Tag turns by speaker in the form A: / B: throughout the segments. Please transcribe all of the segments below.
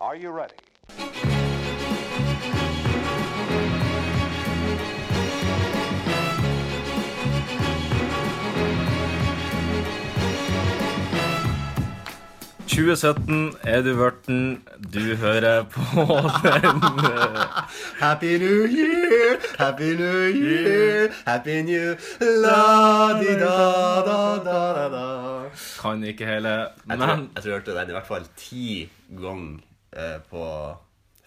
A: Are you ready?
B: er du vørten. Du hører på den
C: Happy New Year, Happy New Year, Happy New La di da da da da da
B: Kan ikke hele,
C: Jeg tror,
B: men
C: jeg tror jeg hørte den i hvert fall ti ganger eh, på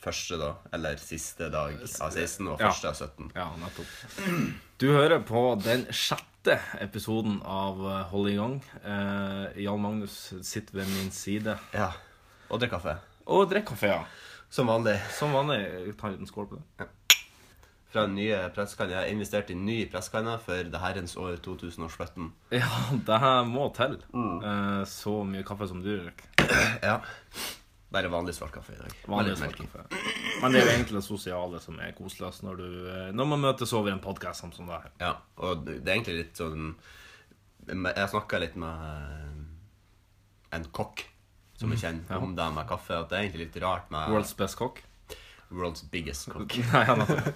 C: første, da, eller siste dag av 16 og
B: Ja.
C: første av 17.
B: Ja, nettopp. Du hører på den sjette episoden av eh, Hold i gang. Eh, Jan Magnus sitter ved min side
C: Ja. Og drikk kaffe.
B: og drikker kaffe. ja.
C: Som vanlig.
B: Som vanlig. Ta en liten skål på det.
C: Fra den nye presskanna. Jeg har investert i ny presskanne for det herrens år 2017.
B: Ja, det her må til.
C: Mm.
B: Eh, så mye kaffe som du drikker.
C: Ja. Bare vanlig svart kaffe i dag.
B: Vanlig
C: Med litt
B: svart
C: melk i.
B: kaffe. Men det er jo egentlig det sosiale som er koseligst når, du, eh, når man møtes over en podkast som det her.
C: Ja, og det er egentlig litt sånn Jeg snakka litt med eh, en kokk som jeg kjenner, om det med kaffe. At det er egentlig litt rart med
B: World's best cock.
C: world's biggest kokk.
B: Nei, ja, nettopp.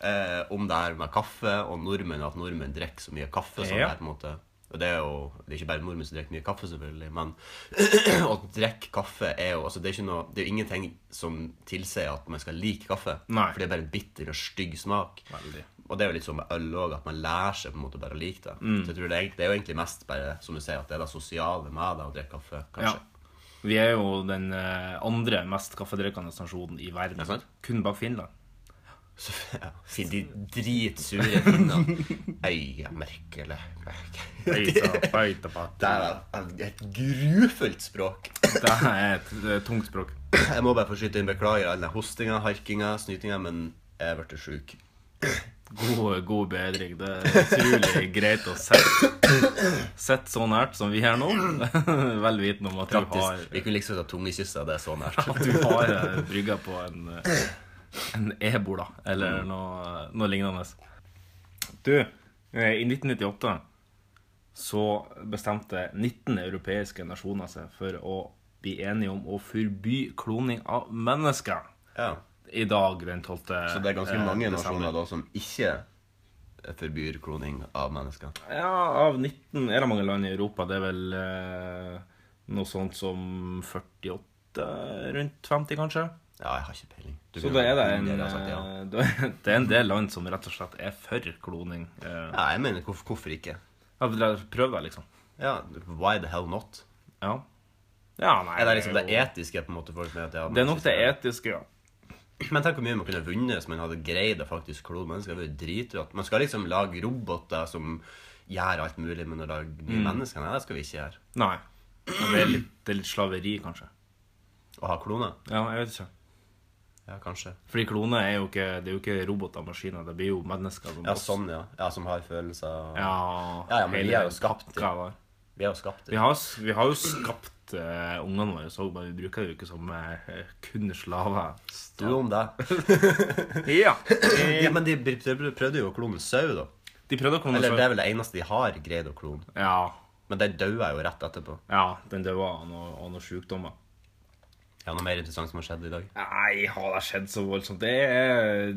C: eh, om det her med kaffe og nordmenn, at nordmenn drikker så mye kaffe. Sånn
B: Ja.
C: der, på en måte. Og det er jo det er ikke bare nordmenn som drikker mye kaffe, selvfølgelig, men å drikke kaffe er jo altså det, er ikke noe, det er jo ingenting som tilsier at man skal like kaffe.
B: Nei.
C: For det er bare en bitter og stygg smak.
B: Veldig.
C: Og det er jo litt sånn med øl òg, at man lærer seg på en måte bare å like det.
B: Mm.
C: Så jeg tror det er, egentlig- det er jo egentlig mest bare som du sier, at det er det sosiale med det å drikke kaffe,
B: Ja.
C: kanskje.
B: Vi er jo den eh, andre mest kaffedrikkende nasjonen i verden.
C: Er det sant?
B: Kun bak Finland.
C: Så, ja. Siden de dritsure finnene Øya merkelig. Det
B: Det
C: er et- et grufullt språk.
B: er et eh, tungt språk.
C: Jeg må bare få skyte inn beklager all den hostinga, harkinga, snytinga, men jeg ble sjuk.
B: God, god bedring. Det er utrolig greit å sitte sitte så nært som vi her nå. Vel vitende om at du har,
C: Praktisk. Vi kunne liksom ta tungekyssa, det er så nært.
B: at du har eh, brygga på en, eh, en ebola
C: Mm.
B: eller noe, noe lignende. Du, eh, i 1998 så bestemte 19 europeiske nasjoner seg for å bli enige om å forby kloning av mennesker.
C: Ja.
B: I dag, den 12.
C: Så det er ganske
B: Eh,
C: mange
B: desember.
C: nasjoner da som ikke forbyr kloning av mennesker.
B: Ja, av 19 Er det mange land i Europa? Det er vel eh, noe sånt som 48? Rundt 50, kanskje?
C: Ja, jeg har ikke peiling. Du
B: Så
C: kunne
B: da er det
C: jo-
B: en,
C: Dere har sagt ja.
B: eh, det er- det er en del land som rett og slett er for kloning. Eh,
C: Ja, jeg mener, hvorfor, hvorfor ikke?
B: ja, dere prøver, liksom.
C: Ja, why the hell not?
B: Ja. ja nei,
C: Er det liksom det
B: jo-
C: etiske på en måte folk mener at ja,
B: Det er nok det etiske, ja.
C: Men tenk hvor mye man kunne vunnet hvis man hadde greid å faktisk klone mennesker. Det er jo dritrått. Man skal liksom lage roboter som gjør alt mulig, men å lage nye mennesker, nei, det skal vi ikke gjøre.
B: Nei. Og Det er litt, det er litt slaveri, kanskje.
C: Å ha kloner?
B: Ja, jeg vet ikke.
C: Ja, kanskje.
B: Fordi kloner er jo ikke, det er jo ikke roboter og maskiner. Det blir jo mennesker som
C: Ja,
B: oss.
C: sånn, ja. Ja, Som har følelser. og-
B: Ja,
C: Ja, ja, men vi er jo skapt det.
B: oppgaver.
C: Vi er jo skapt
B: Vi
C: det.
B: har, vi har jo skapt eh, ungene våre, så men vi bruker det jo ikke som eh, kun slaver.
C: Du om det.
B: Ja.
C: Ja, men de br- prøvde prøvde jo å klone sau, da.
B: De prøvde å klone
C: Eller
B: seg.
C: det er vel det eneste de har greid å klone.
B: Ja,
C: Men den døde jo rett etterpå.
B: ja, den døde av noen, av noen sykdommer.
C: Ja, noe mer interessant som har skjedd i dag?
B: Nei, har det skjedd så voldsomt? Det er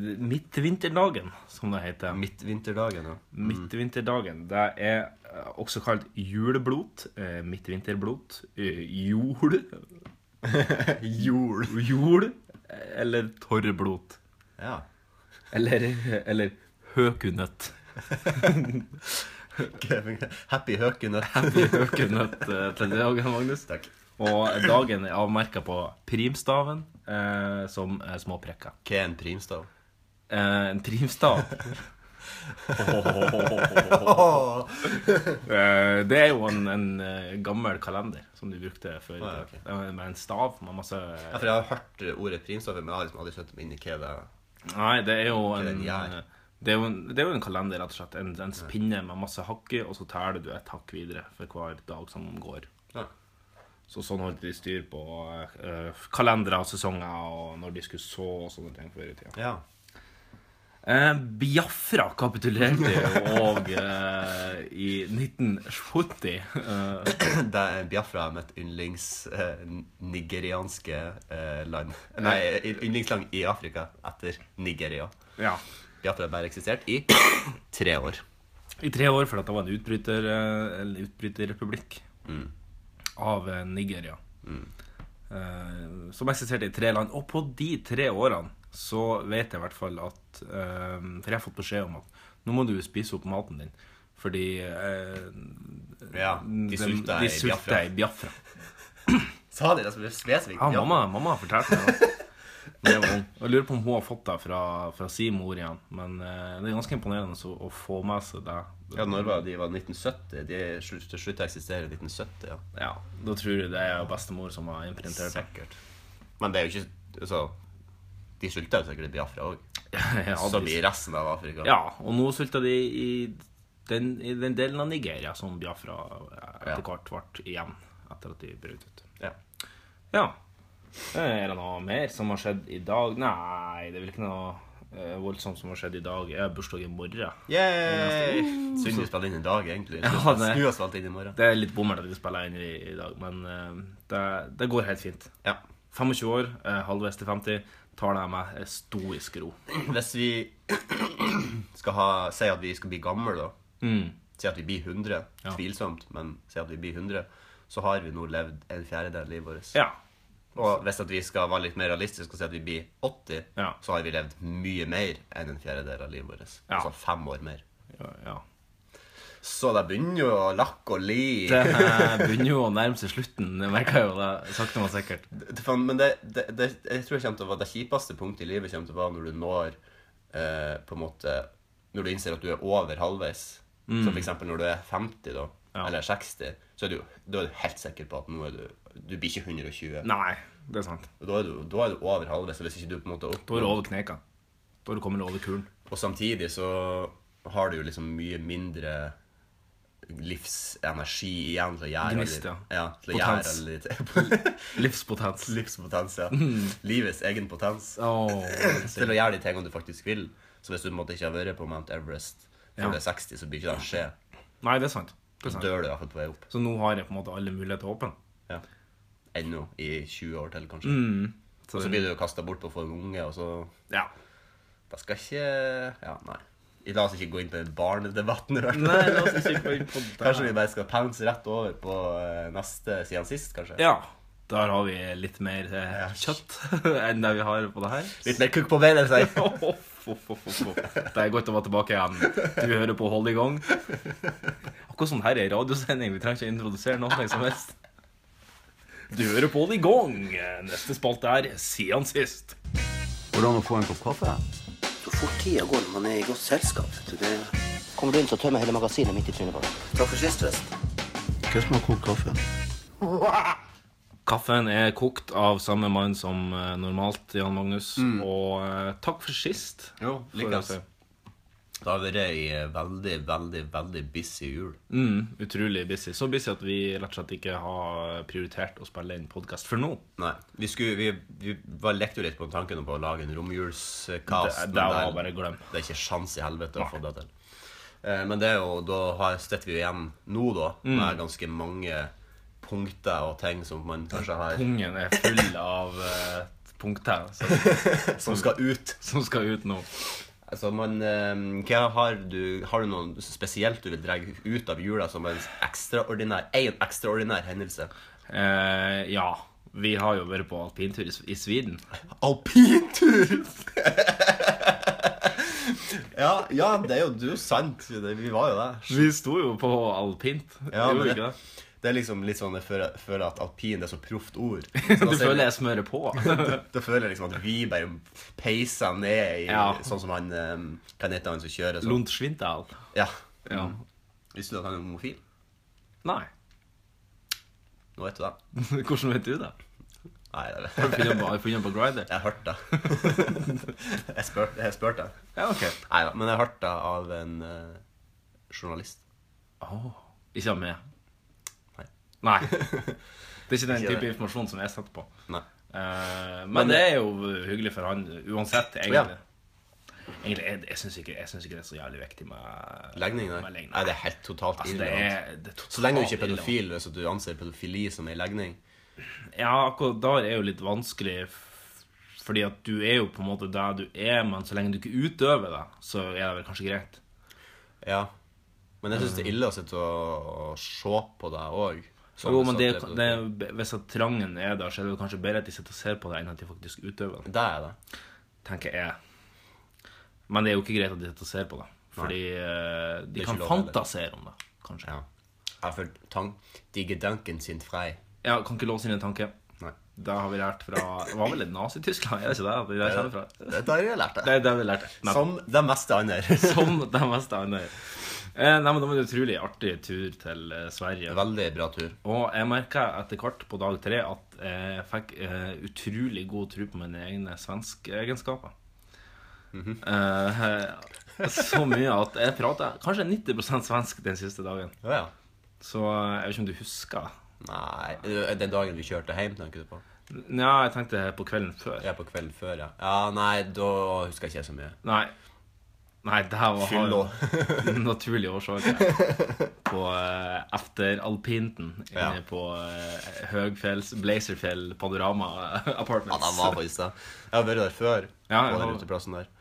B: midtvinterdagen, som det heter.
C: Midtvinterdagen, ja.
B: Midtvinterdagen. Det er eh, også kalt juleblot, eh, midtvinterblot, eh, jol,
C: Jul.
B: jol eh, eller torrblot.
C: Ja.
B: Eller, eller høkunøtt.
C: Happy høkenøtt.
B: Høkunøtt eh, til deg, Magnus.
C: Takk.
B: Og dagen er avmerka på primstaven eh, som eh, små prikker.
C: Hva er en primstav?
B: Eh, en primstav eh, Det er jo en, en eh, gammel kalender som de brukte før. i
C: Ah, ja,
B: tida.
C: ok.
B: Det var Med en stav med masse
C: Ja, for jeg har hørt ordet primstav, men jeg har liksom aldri sett meg inn i hva det er.
B: Nei, det er jo en
C: den gjør.
B: det er, jo en, det er jo en kalender, rett og slett. En, en pinne med masse hakk i, og så teller du et hakk videre for hver dag som går.
C: Ja.
B: Så sånn holdt de styr på eh, kalendere og sesonger og når de skulle så og sånne ting før i tida.
C: ja.
B: Eh, Biafra kapitulerte jo òg eh, i 1970. Eh,
C: Det er Biafra mitt yndlings eh, nigerianske eh, land. Nei, yndlingsland i Afrika etter Nigeria.
B: ja.
C: Biafra har bare eksistert i tre år.
B: I tre år, for at det var en utbryter, eh, en utbryterrepublikk av eh, Nigeria. Eh, som eksisterte i tre land. Og på de tre årene så vet jeg i hvert fall at eh, For jeg har fått beskjed om at nå må du spise opp maten din. Fordi eh,
C: Ja, de sulta
B: de
C: i Biafra.
B: i Biafra.
C: Sa de det som spesifikt?
B: Ja, mamma, mamma har fortalt meg det. Når jeg var ung. Jeg lurer på om hun har fått det fra, fra sin mor igjen. Men eh, det er ganske imponerende å, å få med seg det.
C: Ja, når var de? De var 1970? De slutt- til slutt å eksistere i 1970, ja.
B: Ja, Da tror jeg det er bestemor som har imprintert det.
C: Sikkert. Men det er jo ikke altså, De sulta jo sikkert i Biafra òg.
B: Ja,
C: Som i
B: de-
C: resten av Afrika.
B: ja, og nå sulter de i den, i den delen av Nigeria som Biafra eh, etter hvert ble igjen etter at de brøt ut.
C: Ja.
B: Ja. Eh, Er det noe mer som har skjedd i dag? Nei, det er vel ikke noe eh, voldsomt som har skjedd i dag. Jeg har bursdag i morgen.
C: Yay! Synd vi spiller inn i dag, egentlig.
B: Ja,
C: Skulle
B: det-
C: skulle ha spilt inn i morgen.
B: Det er litt bommert at vi spiller inn i, i dag, men eh, det, det går helt fint.
C: Ja.
B: 25 år, eh, halvveis til 50, tar det med eh, stoisk ro.
C: Hvis vi skal ha, si at vi skal bli gamle, da Si at vi blir 100.
B: Mm. Ja.
C: Tvilsomt, men si at vi blir 100. Så har vi nå levd en fjerdedel av livet vårt.
B: Ja.
C: Og hvis at vi skal være litt mer realistiske og si at vi blir 80,
B: Ja.
C: så har vi levd mye mer enn en fjerdedel av livet vårt.
B: Ja.
C: Altså fem år mer.
B: ja, ja.
C: Så det begynner jo å lakke og li.
B: Det eh, begynner jo å nærme seg slutten, jeg merker jo det sakte, men sikkert.
C: Det- faen, Men det, det, det, jeg tror det, kommer til å være det kjipeste punktet i livet kommer til å være når du når eh, på en måte, Når du innser at du er over halvveis. Så for eksempel når du er 50, da,
B: Mm. Ja.
C: eller 60, så er du, da er du helt sikker på at nå er du Du blir ikke 120.
B: Nei, det er sant.
C: Og Da er du, da er du over halvveis. og Hvis ikke du på en måte er opp
B: Da er du over kneka. Da er du kommet over kulen.
C: Og samtidig så har du jo liksom mye mindre livsenergi igjen til å gjøre
B: Gnist,
C: litt-
B: ja.
C: ja til å
B: Potens.
C: gjøre litt
B: Livspotens.
C: Livspotens, ja.
B: Mm.
C: Livets egen potens.
B: Åh,
C: Til å gjøre de tingene du faktisk vil. Så hvis du på en måte ikke har vært på Mount Everest før
B: Ja.
C: du er 60, så blir ikke det skje.
B: Nei, det er sant. Det er
C: Så
B: sant.
C: dør du i hvert fall på vei opp.
B: Så nå har jeg på en måte alle muligheter åpne.
C: Ja. Ennå. I 20 år til, kanskje.
B: Så,
C: Og så blir du kasta bort på å få en unge, og så
B: ja.
C: Da skal ikke Ja, nei. La oss ikke gå inn på den barnedebatten. i hvert fall.
B: Nei, la oss ikke gå inn på det.
C: Kanskje vi bare skal pounce rett over på eh, neste siden sist, kanskje?
B: Ja. Der har vi litt mer eh,
C: Ja.
B: kjøtt enn det vi har på det her.
C: Litt mer kukk på beinet, sier jeg.
B: Off, off, off, off, off. Det er godt å være tilbake igjen. Du hører på Hold i gang. Akkurat sånn her er radiosending. Vi trenger ikke introdusere noe som helst. Du hører på Hold i gang. Neste spalte er Siden sist.
A: Går det an å få en kopp kaffe?
D: Så fort tida går når man er i godt selskap. vet du, Det
E: Kommer du inn, så tømmer jeg hele magasinet midt i trynet på deg.
D: Takk for sist, forresten.
A: Hva som har kokt kaffe?
B: Kaffen er kokt av samme mann som eh, normalt, Jan Magnus. Og eh, takk for sist.
C: Mm. Jo,
B: For å
C: likens.
B: se.
C: Da har vi vært ei eh, veldig, veldig, veldig busy jul.
B: Mm, utrolig busy. Så busy at vi rett og slett ikke har prioritert å spille inn podkast for nå.
C: Nei, vi, skulle, vi, vi var lekte jo litt på tanken om å lage en romjulskast.
B: Det- det
C: men
B: var bare glem.
C: Det er ikke sjans i helvete å få det til. Eh, Men det er jo, da har- sitter vi jo igjen nå, da,
B: Mm.
C: med ganske mange punkter og ting som man kanskje har
B: Pungen er full av eh, punkter som,
C: Som skal ut.
B: som skal ut nå.
C: Altså, man, eh, hva har, du, har du noe spesielt du vil dra ut av jula som en ekstraordinær, en ekstraordinær hendelse?
B: Eh, ja. Vi har jo vært på alpintur i, S- i Sviden.
C: Alpintur! ja, ja, det er jo det er jo sant. Det, vi var jo det.
B: Vi sto jo på alpint. Gjorde
C: Ja, men
B: vi
C: det,
B: ikke det?
C: det er liksom litt sånn jeg føler, føler at alpin er så proft ord.
B: Du føler jeg smører på.
C: Da føler jeg liksom at vi bare peiser ned i
B: Ja.
C: sånn som han eh, Hva heter han som kjører sånn?
B: Lund Schwindal.
C: Ja.
B: Ja.
C: Visste du at han er homofil?
B: Nei.
C: Nå vet du det.
B: Hvordan vet du det?
C: Nei, det
B: Har du
C: vet jeg.
B: funnet på- har du funnet på Grider?
C: Jeg hørte det. Jeg spurte. Jeg spurte.
B: Ja, OK.
C: Nei da, men jeg hørte det av en eh, journalist.
B: Åh, ikke av meg.
C: Nei.
B: Nei. Det er ikke den
C: Ikke det.
B: type informasjon som jeg setter på.
C: Nei.
B: Eh, men,
C: Men
B: det
C: det-
B: er jo hyggelig for han uansett, egentlig. Egentlig, jeg, jeg syns ikke, jeg synes ikke det er så jævlig viktig med
C: Legning, nei.
B: med legning.
C: nei. Det er helt totalt
B: Altså, det
C: irrelevant.
B: er, det er
C: Så lenge du ikke er
B: totalt
C: pedofil, hvis du anser pedofili som ei legning
B: irrelevant. Ja, akkurat der er jo litt vanskelig, f- fordi at du er jo på en måte der du er, men så lenge du ikke utøver det, så er det vel kanskje greit.
C: Ja. Men jeg syns det er
B: Mm.
C: ille å sitte og, og se på deg òg.
B: jo, men det, er jo- det, er- hvis at trangen er der, så er det jo kanskje bedre at de sitter og ser på det, enn at de faktisk utøver det,
C: Det er det.
B: tenker jeg. Men det er jo ikke greit at de sitter og ser på det, fordi eh,
C: er
B: de
C: ikke
B: kan
C: lov heller.
B: fantasere om det, kanskje.
C: Ja. Jeg føler tang Die Gedanken sin frei.
B: Ja, kan ikke låse inn en tanke.
C: Nei.
B: Det har vi lært fra Det var vel et Nazi-Tyskland? Er det ikke det? at vi kjenner fra?
C: Det der har jeg lært
B: Det
C: det.
B: er det vi lærte. Nei,
C: Som det meste annet.
B: som det meste annet. Eh, Nei, men Det var en utrolig artig tur til eh, Sverige.
C: Veldig bra tur.
B: Og jeg merka etter hvert på dag tre at jeg fikk eh, utrolig god tro på mine egne svenskeegenskaper.
C: Mhm.
B: eh, så mye at jeg prata kanskje 90 svensk den siste dagen.
C: Ja, ja.
B: Så eh, jeg vet ikke om du husker?
C: Nei Den dagen vi kjørte hjem, tenker du på?
B: Nja, jeg tenkte på kvelden før.
C: Ja, på kvelden før, ja. Ja, Nei, da husker jeg ikke så mye.
B: Nei. Nei, det her var
C: Fyll og
B: naturlig årsak. På uh, efteralpinten
C: Ja.
B: inne på uh, Høgfjells Blazerfjell Panorama
C: Ja,
B: Apartments.
C: den var faktisk det. Jeg har vært der før.
B: Altså. Ja,
C: på
B: ja.
C: den uteplassen der.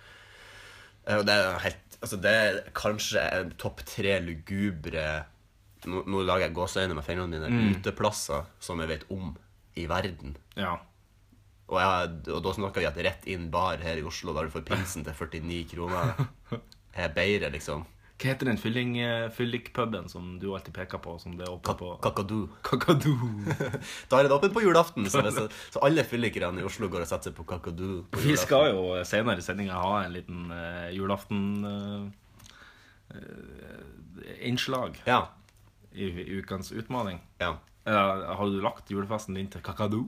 C: Eh, Og det er jo helt Altså, det er kanskje en topp tre lugubre Nå, nå lager jeg gåseøyne med fingrene mine.
B: Mm.
C: Uteplasser som jeg vet om i verden.
B: ja.
C: Og, jeg, og da snakker vi at rett inn bar her i Oslo, der du får pinsen til 49 kroner, er bedre, liksom.
B: Hva heter den fylling, eh, fyllikpuben som du alltid peker på? Som det er åpent på
C: Kakadu.
B: Kakadu.
C: Da er det åpent på julaften, så, hvis, så alle fyllikerne i Oslo går og setter seg på kakadu. på
B: Vi
C: julaften.
B: skal jo senere i sendinga ha en liten eh, julaften eh, eh, innslag
C: Ja.
B: i, i ukens utmaning.
C: ja.
B: Eh, har du lagt julefesten din til kakadu?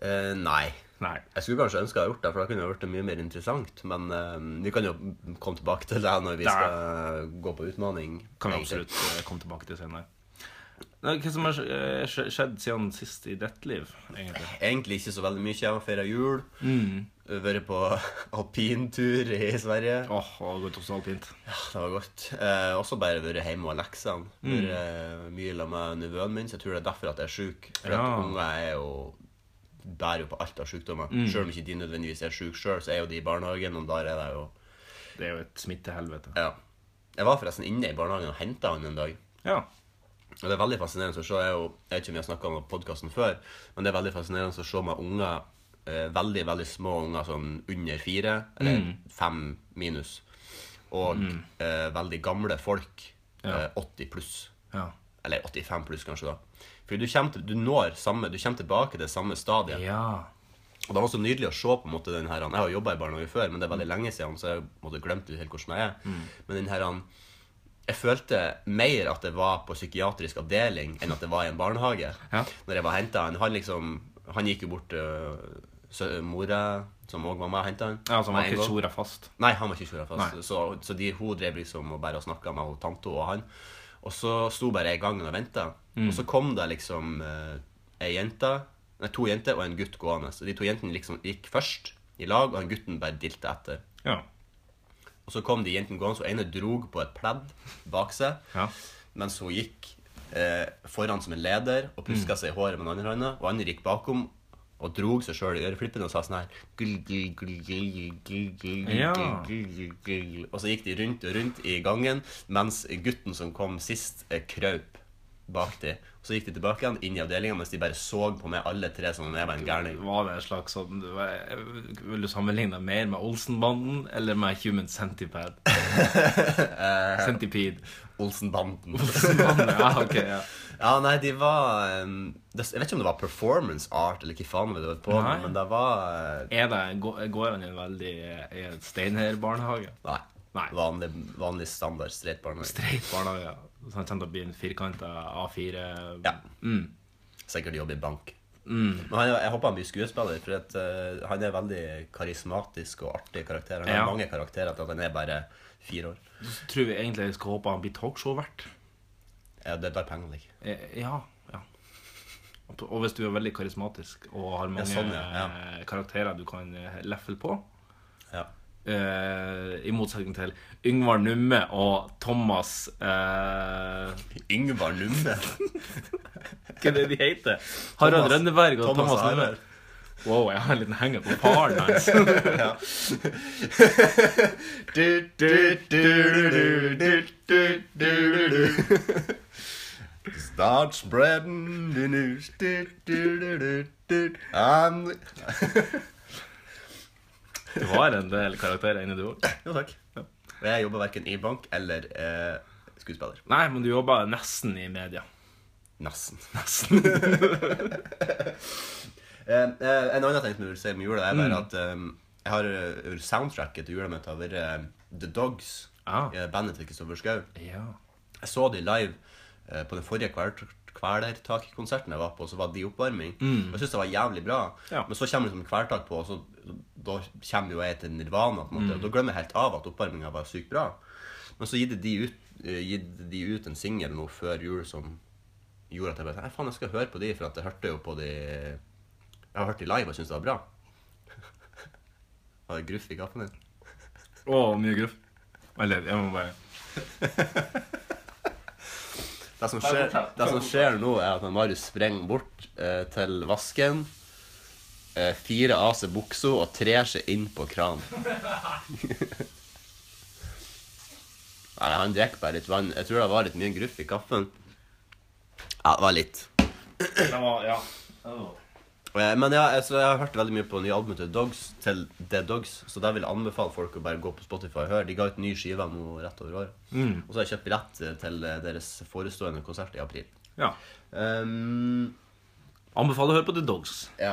C: Eh, nei.
B: Nei.
C: Jeg skulle kanskje ønske jeg hadde gjort det, for da kunne det vært mye mer interessant. Men eh, vi kan jo komme tilbake til det når vi
B: Da.
C: skal gå på utmaning.
B: kan vi absolutt eh, komme tilbake til senere. Nei, Hva som har eh, skje- skjedd siden sist i ditt liv, egentlig?
C: Egentlig ikke så veldig mye. Jeg har feira jul.
B: Mm.
C: Vært på alpintur i Sverige.
B: Åh, det har gått totalt fint.
C: Ja, det var godt. Eh, også bare vært hjemme og leksene.
B: Mm.
C: Vært eh, mye sammen med nevøen min, så jeg tror det er derfor at jeg er sjuk. For
B: Ja.
C: at unger er jo bærer jo på alt av sykdommer.
B: Mm.
C: Selv om ikke de nødvendigvis er sjuke sjøl, så er jo de i barnehagen, og der er det jo
B: Det er jo et smittehelvete.
C: Ja. Jeg var forresten inne i barnehagen og henta han en dag.
B: Ja.
C: Og det er veldig fascinerende å se. Jeg, er jo, jeg vet ikke om jeg har snakka om podkasten før, men det er veldig fascinerende å se med unger, eh, veldig veldig små unger, sånn under fire, eller fem minus, og eh, veldig gamle folk, eh, 80 pluss,
B: ja.
C: eller 85 pluss kanskje, da. Fordi du, kommer til, du når samme, du kommer tilbake til samme stadiet.
B: Ja.
C: Og det var så nydelig å se på en måte den her Jeg har jobba i barnehage før, men det er veldig lenge siden, så jeg måtte glemte helt hvordan jeg er.
B: Mm.
C: Men den her Jeg følte mer at det var på psykiatrisk avdeling enn at det var i en barnehage.
B: Ja.
C: Når jeg var henta han, han liksom Han gikk jo bort til sø- mora, som òg var med og henta han.
B: ja altså, man
C: Med en
B: har ikke
C: gang.
B: tjora fast.
C: Nei, han var ikke tjora
B: Nei.
C: fast. Så, så de, hun drev liksom og bare snakka med hun tante og han. Og så sto bare jeg i gangen og venta.
B: Mm.
C: Og så kom det liksom eh, ei jente, nei, to jenter og en gutt gående. Så de to jentene liksom gikk først i lag, og han gutten bare dilta etter.
B: Ja.
C: Og så kom de jentene gående, så ene drog på et pledd bak seg,
B: Ja.
C: mens hun gikk eh, foran som en leder og puska
B: Mm.
C: seg i håret med den andre hånda, og andre gikk bakom. Og drog seg sjøl i øreflippene og sa sånn her «Gull, gull, gull, gull, gull, gull, gull,
B: Ja.
C: gull, gull, gull». Og så gikk de rundt og rundt i gangen mens gutten som kom sist, eh, kraup bak de. Så gikk de tilbake igjen inn i avdelinga mens de bare så på meg alle tre som om jeg var en gærning.
B: Var det en slags sånn du vet- Vil du sammenligne deg mer med Olsenbanden eller med Human Centipede? Eh. Centipede.
C: Olsenbanden.
B: Olsenbanden, ja, ok, ja.
C: Ja, nei, de var um, det, Jeg vet ikke om det var performance art eller hva faen det var på,
B: Nei.
C: men det var eh,
B: Er det, går går han i en veldig eh, i en Steinherr-barnehage?
C: Nei.
B: Nei.
C: Vanlig, vanlig standard streit barnehage.
B: streit barnehage. Så han kommer til å bli en firkanta A4
C: Ja.
B: Mm.
C: Sikkert jobb i bank. Men han, er- jeg håper han blir skuespiller, for at, eh, han er veldig karismatisk og artig karakter. Han har
B: Ja.
C: mange karakterer til at han er bare fire år.
B: Så tror vi egentlig jeg skal håpe han blir talkshow-vert.
C: Ja, det er bare pengene ligger.
B: Eh, Ja, ja. Og hvis du er veldig karismatisk og har mange
C: sånn, ja, ja.
B: eh, karakterer du kan eh, leffle på,
C: Ja.
B: eh, I motsetning til Yngvar Numme og Thomas eh,
C: Yngvar Numme.
B: Hva er det de heter? Harald
C: Thomas-
B: Rønneberg og Thomas,
C: Harald.
B: Numme. Wow, jeg har en liten henger på faren hans.
C: Du, du, du, du, du, du, du, du. Start spreading the news. Du, du, du, du, du. I'm...
B: Det var en del karakterer inni du òg.
C: Jo, takk. Jeg jobber hverken i bank eller eh, skuespiller.
B: Nei, men du jobba nesten i media.
C: Nesten.
B: Nesten.
C: Eh, eh, en annen ting som jeg vil si om jula, er bare at eh, jeg har eh, soundtracket til jula mitt har vært eh, The Dogs.
B: Ah.
C: eh, Bandet til Kristoffer Schau.
B: Ja.
C: Jeg så de live eh, på den forrige kvel- Kvelertak-konserten jeg var på, så var de oppvarming. Og Jeg synes det var jævlig bra.
B: Ja.
C: Men så kommer liksom Kvelertak på, og så, da kommer jo jeg til nirvana. på en måte, og Da glemmer jeg helt av at oppvarminga var sykt bra. Men så gitt de ut, eh, gitt de ut en singel nå før jul som gjorde at jeg bare Nei, faen, jeg skal høre på de, for at jeg hørte jo på de Jeg har hørt de live og syntes det var bra. Var det gruff i kaffen din?
B: Å, mye gruff. Eller, jeg må bare
C: Det som, skjer, det som skjer nå, er at han Marius sprenger bort eh, til vasken, eh, firer av seg buksa og trer seg inn på kranen. Nei, han drikker bare litt vann. Jeg tror det var litt mye gruff i kaffen. Ja, det var litt.
B: Det var, ja.
C: Eh, Men ja, jeg, så jeg har hørt veldig mye på nye albumet til Dogs, til The Dogs, så der vil jeg anbefale folk å bare gå på Spotify og høre. De ga ut nye skiver nå rett over året. Og så har jeg kjøpt billett eh, til eh, deres forestående konsert i april.
B: ja.
C: Um,
B: Anbefaler å høre på The Dogs.
C: Ja.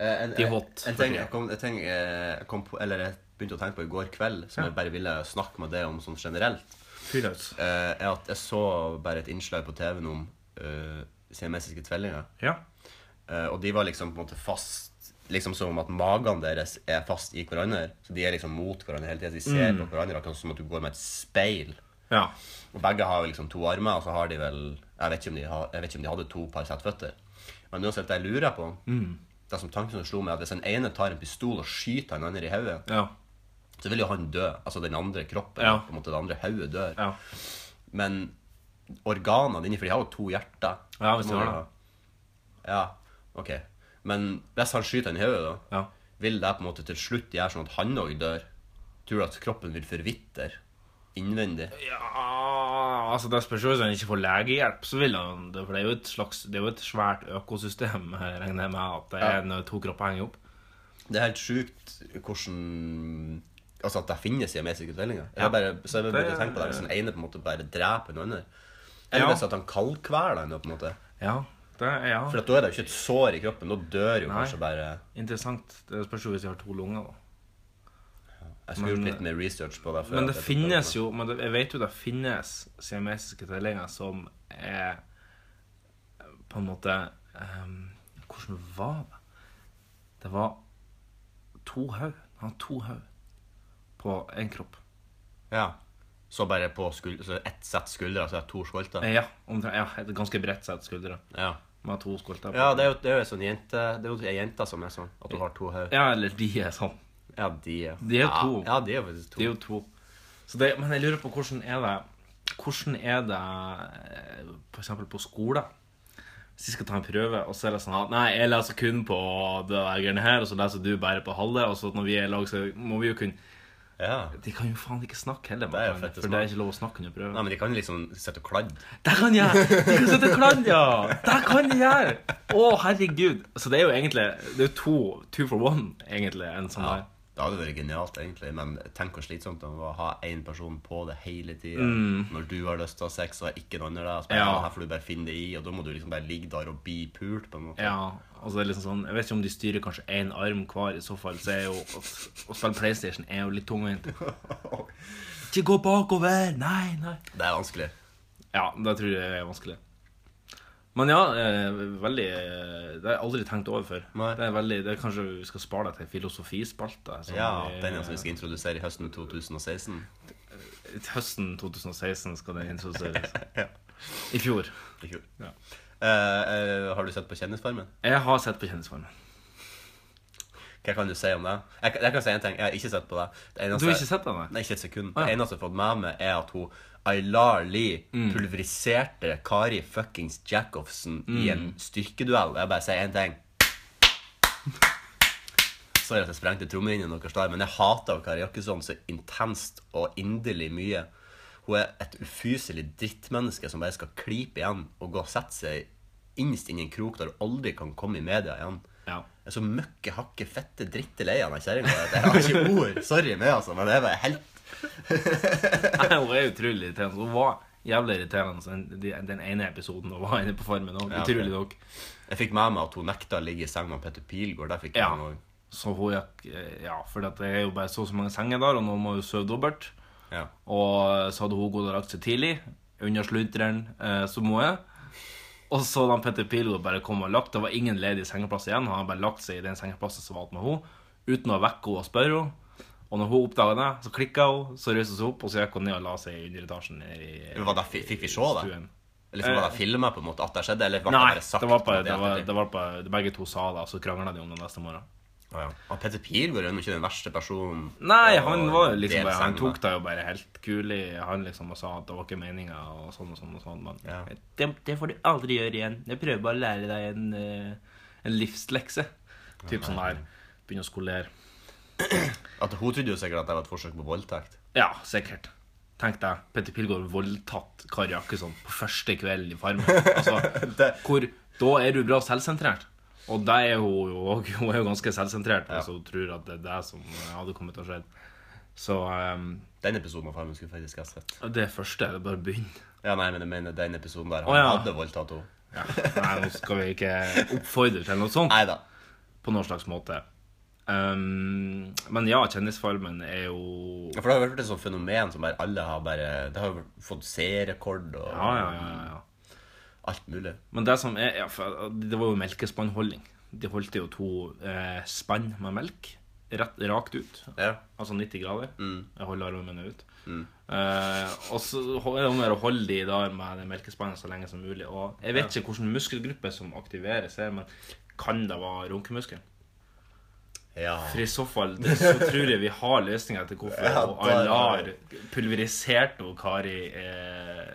C: Eh, En,
B: De er hot,
C: En
B: for
C: ting
B: tiden.
C: jeg, kom, en ting eh, jeg, kom på, eller jeg begynte å tenke på i går kveld, som jeg bare ville snakke med deg om sånn generelt,
B: Fyr løs.
C: eh, er at jeg så bare et innslag på TV-en om eh, siamesiske tvillinger.
B: Ja.
C: Eh, og de var liksom på en måte fast Liksom som at magene deres er fast i hverandre. Så de er liksom mot hverandre hele tiden. De ser
B: Mm.
C: på hverandre akkurat som at du går med et speil.
B: Ja.
C: Og begge har jo liksom to armer, og så har de vel Jeg vet ikke om de, har, jeg vet ikke om de hadde to par sett føtter. Men uansett, det jeg lurer på
B: Mm.
C: Det som tanken som slo meg, at hvis den ene tar en pistol og skyter den andre i hodet,
B: Ja.
C: så vil jo han dø. Altså den andre kroppen.
B: Ja.
C: På en måte, det andre hodet dør.
B: Ja.
C: Men organene inni For de har jo to hjerter.
B: Ja, hvis de
C: Må
B: har
C: jo
B: det.
C: ha- Ja, OK. Men hvis han skyter den i hodet, da,
B: Ja.
C: vil det på en måte til slutt gjøre sånn at han òg dør? Tror du at kroppen vil forvitre innvendig?
B: Ja, altså det spørs jo hvis han ikke får legehjelp, så vil han det. For det er jo et slags, det er jo et svært økosystem, jeg regner jeg med, at det
C: Ja.
B: er når to kropper henger opp.
C: Det er helt sjukt hvordan Altså at det finnes siamesiske tvillinger. Jeg har bare, så jeg begynte å tenke på det Hvis den ene på en måte bare dreper den andre. Eller
B: Ja.
C: hvis at han kaldkveler den. på en måte
B: Ja, det er ja.
C: For at da er det jo ikke et sår i kroppen. Da dør jo
B: Nei.
C: kanskje bare
B: interessant. Det spørs jo hvis de har to lunger, da.
C: Jeg skulle gjort
B: Men-
C: litt mer research på det. før
B: Men
C: at
B: det
C: jeg tok
B: finnes
C: det.
B: jo men det, Jeg vet jo det finnes siamesiske tvillinger som er På en måte ehm, Hvordan var det? Det var to haug. Han hadde to haug på én kropp.
C: Ja. Så bare på skul så ett sett skuldre, så er det to skolter.
B: Eh, Ja, omtrent. Ja, et ganske bredt sett skuldre.
C: Ja.
B: Med to skolter. på.
C: ja, det er jo, det er jo en sånn jente Det er jo ei jente som er sånn, at hun har to hoder.
B: ja, eller de er sånn.
C: Ja, de er
B: De er
C: ja,
B: to.
C: Ja, de er faktisk to.
B: Det er jo to. Så det, men jeg lurer på hvordan er det Hvordan er det eh, for eksempel på skolen? Hvis de skal ta en prøve, og så er det sånn at Nei, jeg leser kun på det der greiene her, og så leser du bare på halve, og så når vi er i lag, så må vi jo kunne
C: Ja.
B: De kan jo faen ikke snakke heller,
C: Det er jo
B: man kan-
C: fette
B: for det er ikke lov å snakke under
C: Nei,
B: prøve.
C: men de kan liksom sitte og kladde.
B: Der kan jeg! De kan sitte og kladde, ja! Der kan de gjøre! Å, herregud. Så det er jo egentlig Det er jo to two for one, egentlig, en sånn
C: Ja,
B: der.
C: det hadde vært genialt, egentlig, men tenk hvor slitsomt det var å ha én person på det hele tida. Når du har lyst til å ha sex, og er ikke den andre der. Så
B: Mm.
C: bare,
B: Ja.
C: ja. Her får du bare finne det i, og da må du liksom bare ligge der og bli pult, på en måte.
B: Ja, altså det er liksom sånn Jeg vet ikke om de styrer kanskje én arm hver. I så fall så er jo Å spille PlayStation er jo litt tungvint. Ikke gå bakover! Nei, nei.
C: Det er vanskelig.
B: Ja, det tror jeg er vanskelig. Men ja, eh, veldig eh, Det har jeg aldri tenkt over før.
C: Nei.
B: Det er veldig, det er Kanskje vi skal spare det til filosofispalte? som
C: Ja,
B: vi-
C: Den er som vi skal introdusere i høsten 2016.
B: eh, Høsten 2016 skal den introduseres. I fjor.
C: I fjor.
B: Ja.
C: Eh, eh, har du sett på Kjendisfarmen?
B: Jeg har sett på Kjendisfarmen.
C: Hva kan du si om det? Jeg, kan- jeg kan si en ting. Jeg har ikke sett på det. det eneste,
B: Du har ikke sett det, nei?
C: Nei, ikke et sekund.
B: ja.
C: Det eneste jeg har fått med meg, er at hun Aylar Lie pulveriserte Kari fuckings Jacobsen i en styrkeduell. Jeg bare sier én ting. Sorry at jeg sprengte trommehinnen deres der, men jeg hater Kari Jakkesson så intenst og inderlig mye. Hun er et ufyselig drittmenneske som bare skal klype igjen og gå og sette seg innst inn i en krok der hun aldri kan komme i media igjen.
B: Ja.
C: Jeg er så møkke, hakke, fette drittelei av den kjerringa. at Jeg har ikke ord. Sorry meg, altså, men det er bare helt
B: Nei, hun er utrolig irriterende. Hun var jævlig irriterende den, de- den ene episoden hun var inne på Farmen. også,
C: Ja,
B: utrolig
C: ok.
B: nok.
C: Jeg fikk med meg at hun nekta å ligge i seng med Petter Pilgaard. Der fikk jeg
B: Ja.
C: den også.
B: Så hun gikk eh, Ja, for det er jo bare så og så mange senger der, og noen må jo sove dobbelt.
C: Ja.
B: Og eh, så hadde hun gått og lagt seg tidlig, under slunteren, eh, som hun er. Og så da Petter Pilgaard bare kom og lagt, det var ingen ledig sengeplass igjen. Han hadde bare lagt seg i den sengeplassen som var alt med henne, uten å vekke henne og spørre henne. Og når hun oppdaga det, så klikka hun, så reiste hun seg opp, og så gikk hun ned og la seg i underetasjen. I,
C: Var det, fikk vi se det?
B: stuen. Eh,
C: Eller fikk- var det filma på en måte at det skjedde? Eller ble det
B: Nei,
C: bare sagt?
B: det var
C: på
B: bare,
C: en måte
B: det var,
C: ettertid?
B: det var bare Begge to sa det, og så krangla de om det neste morgen.
C: Ja, ja. Og Petter Pilgaard er jo ikke den verste personen.
B: Nei,
C: å
B: han var jo liksom
C: dele
B: bare, han
C: seng
B: tok
C: med.
B: det jo bare helt kulig. Han liksom og sa at det var ikke meninga og sånn og sånn. og sånn, men
C: Ja.
B: det, det får du aldri gjøre igjen. Jeg prøver bare å lære deg en, eh, en livslekse. Typ sånn der. Begynne å skolere.
C: At Hun trodde jo sikkert at det var et forsøk på voldtekt.
B: Ja, sikkert. Tenk deg, Petter Pilgaard voldtatt Kari Jakkesson på første kveld i Farmen. Altså, hvor, da er du bra selvsentrert. Og det er hun jo òg. Hun er jo ganske selvsentrert hvis hun tror at det er det som hadde kommet til å skje. Så eh,
C: Den episoden av Farmen skulle faktisk jeg sett.
B: det første er det bare å begynne.
C: Ja, nei, men jeg mener den episoden der han
B: Å, ja.
C: hadde voldtatt henne.
B: Ja. Nei, nå skal vi ikke oppfordre til noe sånt
C: Nei da.
B: på noen slags måte. Ehm, men ja, Kjendisfarmen er jo
C: For det har jo vært et sånt fenomen som bare alle har bare Det har jo fått seerrekord og
B: Ja, ja, ja. ja, ja.
C: alt mulig.
B: Men det som er ja, for Det var jo melkespannholdning. De holdt jo to eh, spann med melk rett, rakt ut.
C: Ja.
B: Altså 90 grader. Jeg holder armene ut. Eh, og så ho- er det om å gjøre å holde de der med det melkespannet så lenge som mulig. Og jeg vet ikke hvilken muskelgruppe som aktiveres her, men kan det være runkemuskelen?
C: ja.
B: For i så fall det, så tror jeg vi har løsninga til hvorfor
C: Ja,
B: og
C: der-
B: Aylar pulveriserte hun Kari eh,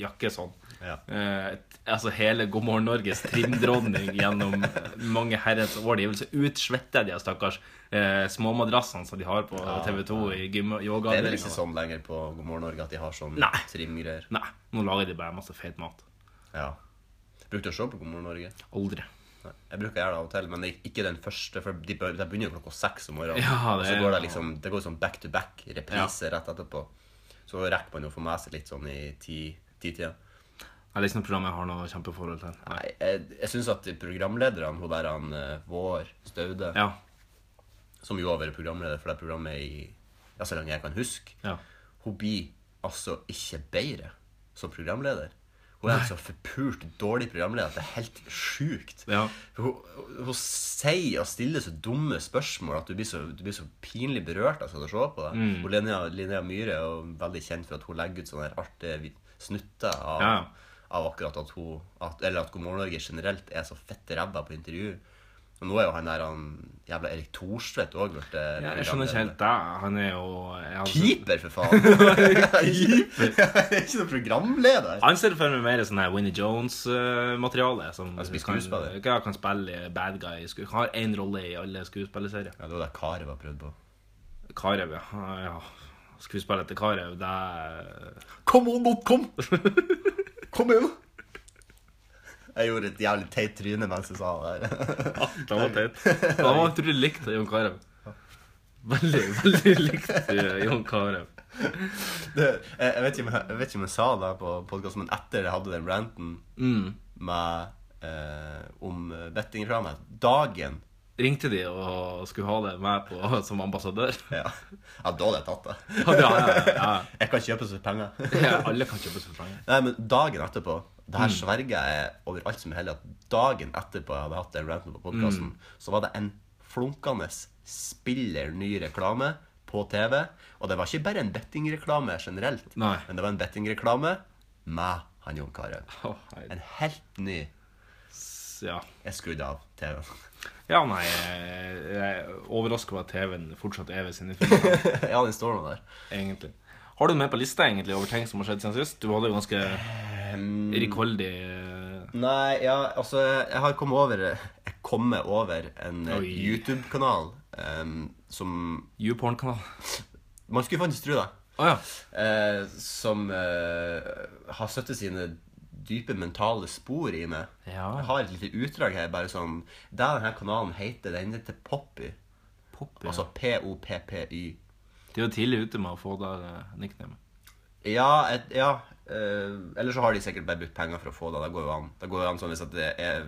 B: Jakkesson.
C: Ja.
B: Eh, t- altså hele God morgen Norges trimdronning gjennom mange herrens år. De er vel så utsvetta, de her stakkars eh, småmadrassene som de har på TV 2 i gym- yoga.
C: Det er vel ikke sånn lenger på God morgen Norge at de har sånn
B: Nei.
C: trimgreier.
B: Nei, nå lager de bare masse feit mat.
C: Ja. Brukte å se på God morgen Norge.
B: Aldri.
C: Nei, Jeg bruker å gjøre det av og til, men det er ikke den første. For de, bør- de begynner jo klokka seks om morgenen.
B: Ja, det
C: og så
B: er-
C: går det liksom Det går sånn back to back, reprise rett etterpå. Så rekker man jo å få med seg litt sånn i ti- ti-tida.
B: Det er ikke noe program jeg har noe kjempeforhold til. Nei.
C: Nei, jeg, jeg syns at programlederne, hun der han eh, Vår Staude,
B: Ja,
C: som jo har vært programleder for det programmet i ja, så lenge jeg kan huske,
B: Ja.
C: hun blir altså ikke bedre som programleder. Hun er en så forpult dårlig programleder at det er helt sjukt.
B: Ja.
C: Hun, hun, hun sier og stiller så dumme spørsmål at du blir så, du blir så pinlig berørt av sånn å se på det.
B: Mm.
C: Og Linnea, Linnea Myhre er jo veldig kjent for at hun legger ut sånne her artige vi- snutter av,
B: Ja.
C: av akkurat at hun at, Eller at God morgen Norge generelt er så fette ræva på intervju. Og nå er jo han der han jævla Erik Thorstvedt òg blitt eh,
B: Jeg skjønner ikke helt det. Han er jo jeg-
C: Keeper, for faen! Keeper? Jeg er ikke noen programleder.
B: Han ser for meg mer sånn her Winnie Jones-materiale. eh, Som
C: Altså, blir
B: kan,
C: skuespiller.
B: ja, kan spille bad guy. sku- Har én rolle i alle skuespillerserier.
C: Ja, Det var det Karev har prøvd på.
B: Karev, ja. Ah, ja. Skuespiller til Karev, det er
C: Kom on, Bob, kom! Kom igjen! Jeg gjorde et jævlig teit tryne mens jeg sa det der.
B: Det var teit. Det var utrolig likt Jon Carew. Veldig, veldig likt eh, Jon Carew.
C: Det, jeg, jeg, vet ikke om jeg, jeg vet ikke om jeg sa det på podkasten, men etter jeg hadde den ranten Mm. med, eh, om bettingprogrammet Dagen
B: Ringte de og skulle ha det med på som ambassadør?
C: ja. ja, da hadde jeg tatt det.
B: Ja, ja, ja,
C: Jeg kan kjøpe så penger.
B: ja. ja. Alle kan kjøpe seg penger.
C: Nei, men dagen etterpå Det her
B: Mm.
C: sverger jeg overalt som er hellig at dagen etterpå jeg hadde hatt den ranten på podkasten,
B: Mm.
C: så var det en flunkende spiller ny reklame på TV. Og det var ikke bare en bettingreklame generelt,
B: Nei.
C: men det var en bettingreklame med han Jon Carew.
B: Å, herregud.
C: En helt ny.
B: ja.
C: Jeg skrudde av TV-en.
B: Ja, nei Jeg jeg er overraska over at TV-en fortsatt er ved sine filmer,
C: ja, den står nå der.
B: egentlig. Har du den med på lista egentlig over ting som har skjedd siden sist? Du hadde jo ganske
C: Ehm.
B: rikholdig eh,
C: Nei, ja, altså Jeg har kommet over Jeg kommer over en eh,
B: Oi.
C: YouTube-kanal em, som
B: YouPorn-kanal.
C: Man skulle faktisk tro det.
B: Å ja.
C: Eh, som eh, har satt sine dype mentale spor i meg.
B: Ja.
C: Jeg har et lite utdrag her. bare sånn Det denne kanalen heter, den heter Poppy.
B: Poppy.
C: Altså P-O-P-P-Y.
B: De var tidlig ute med å få der eh, nickname.
C: Ja, et, ja eh, Eller så har de sikkert bare brukt penger for å få det. Det går jo an. Det går jo an sånn hvis at det er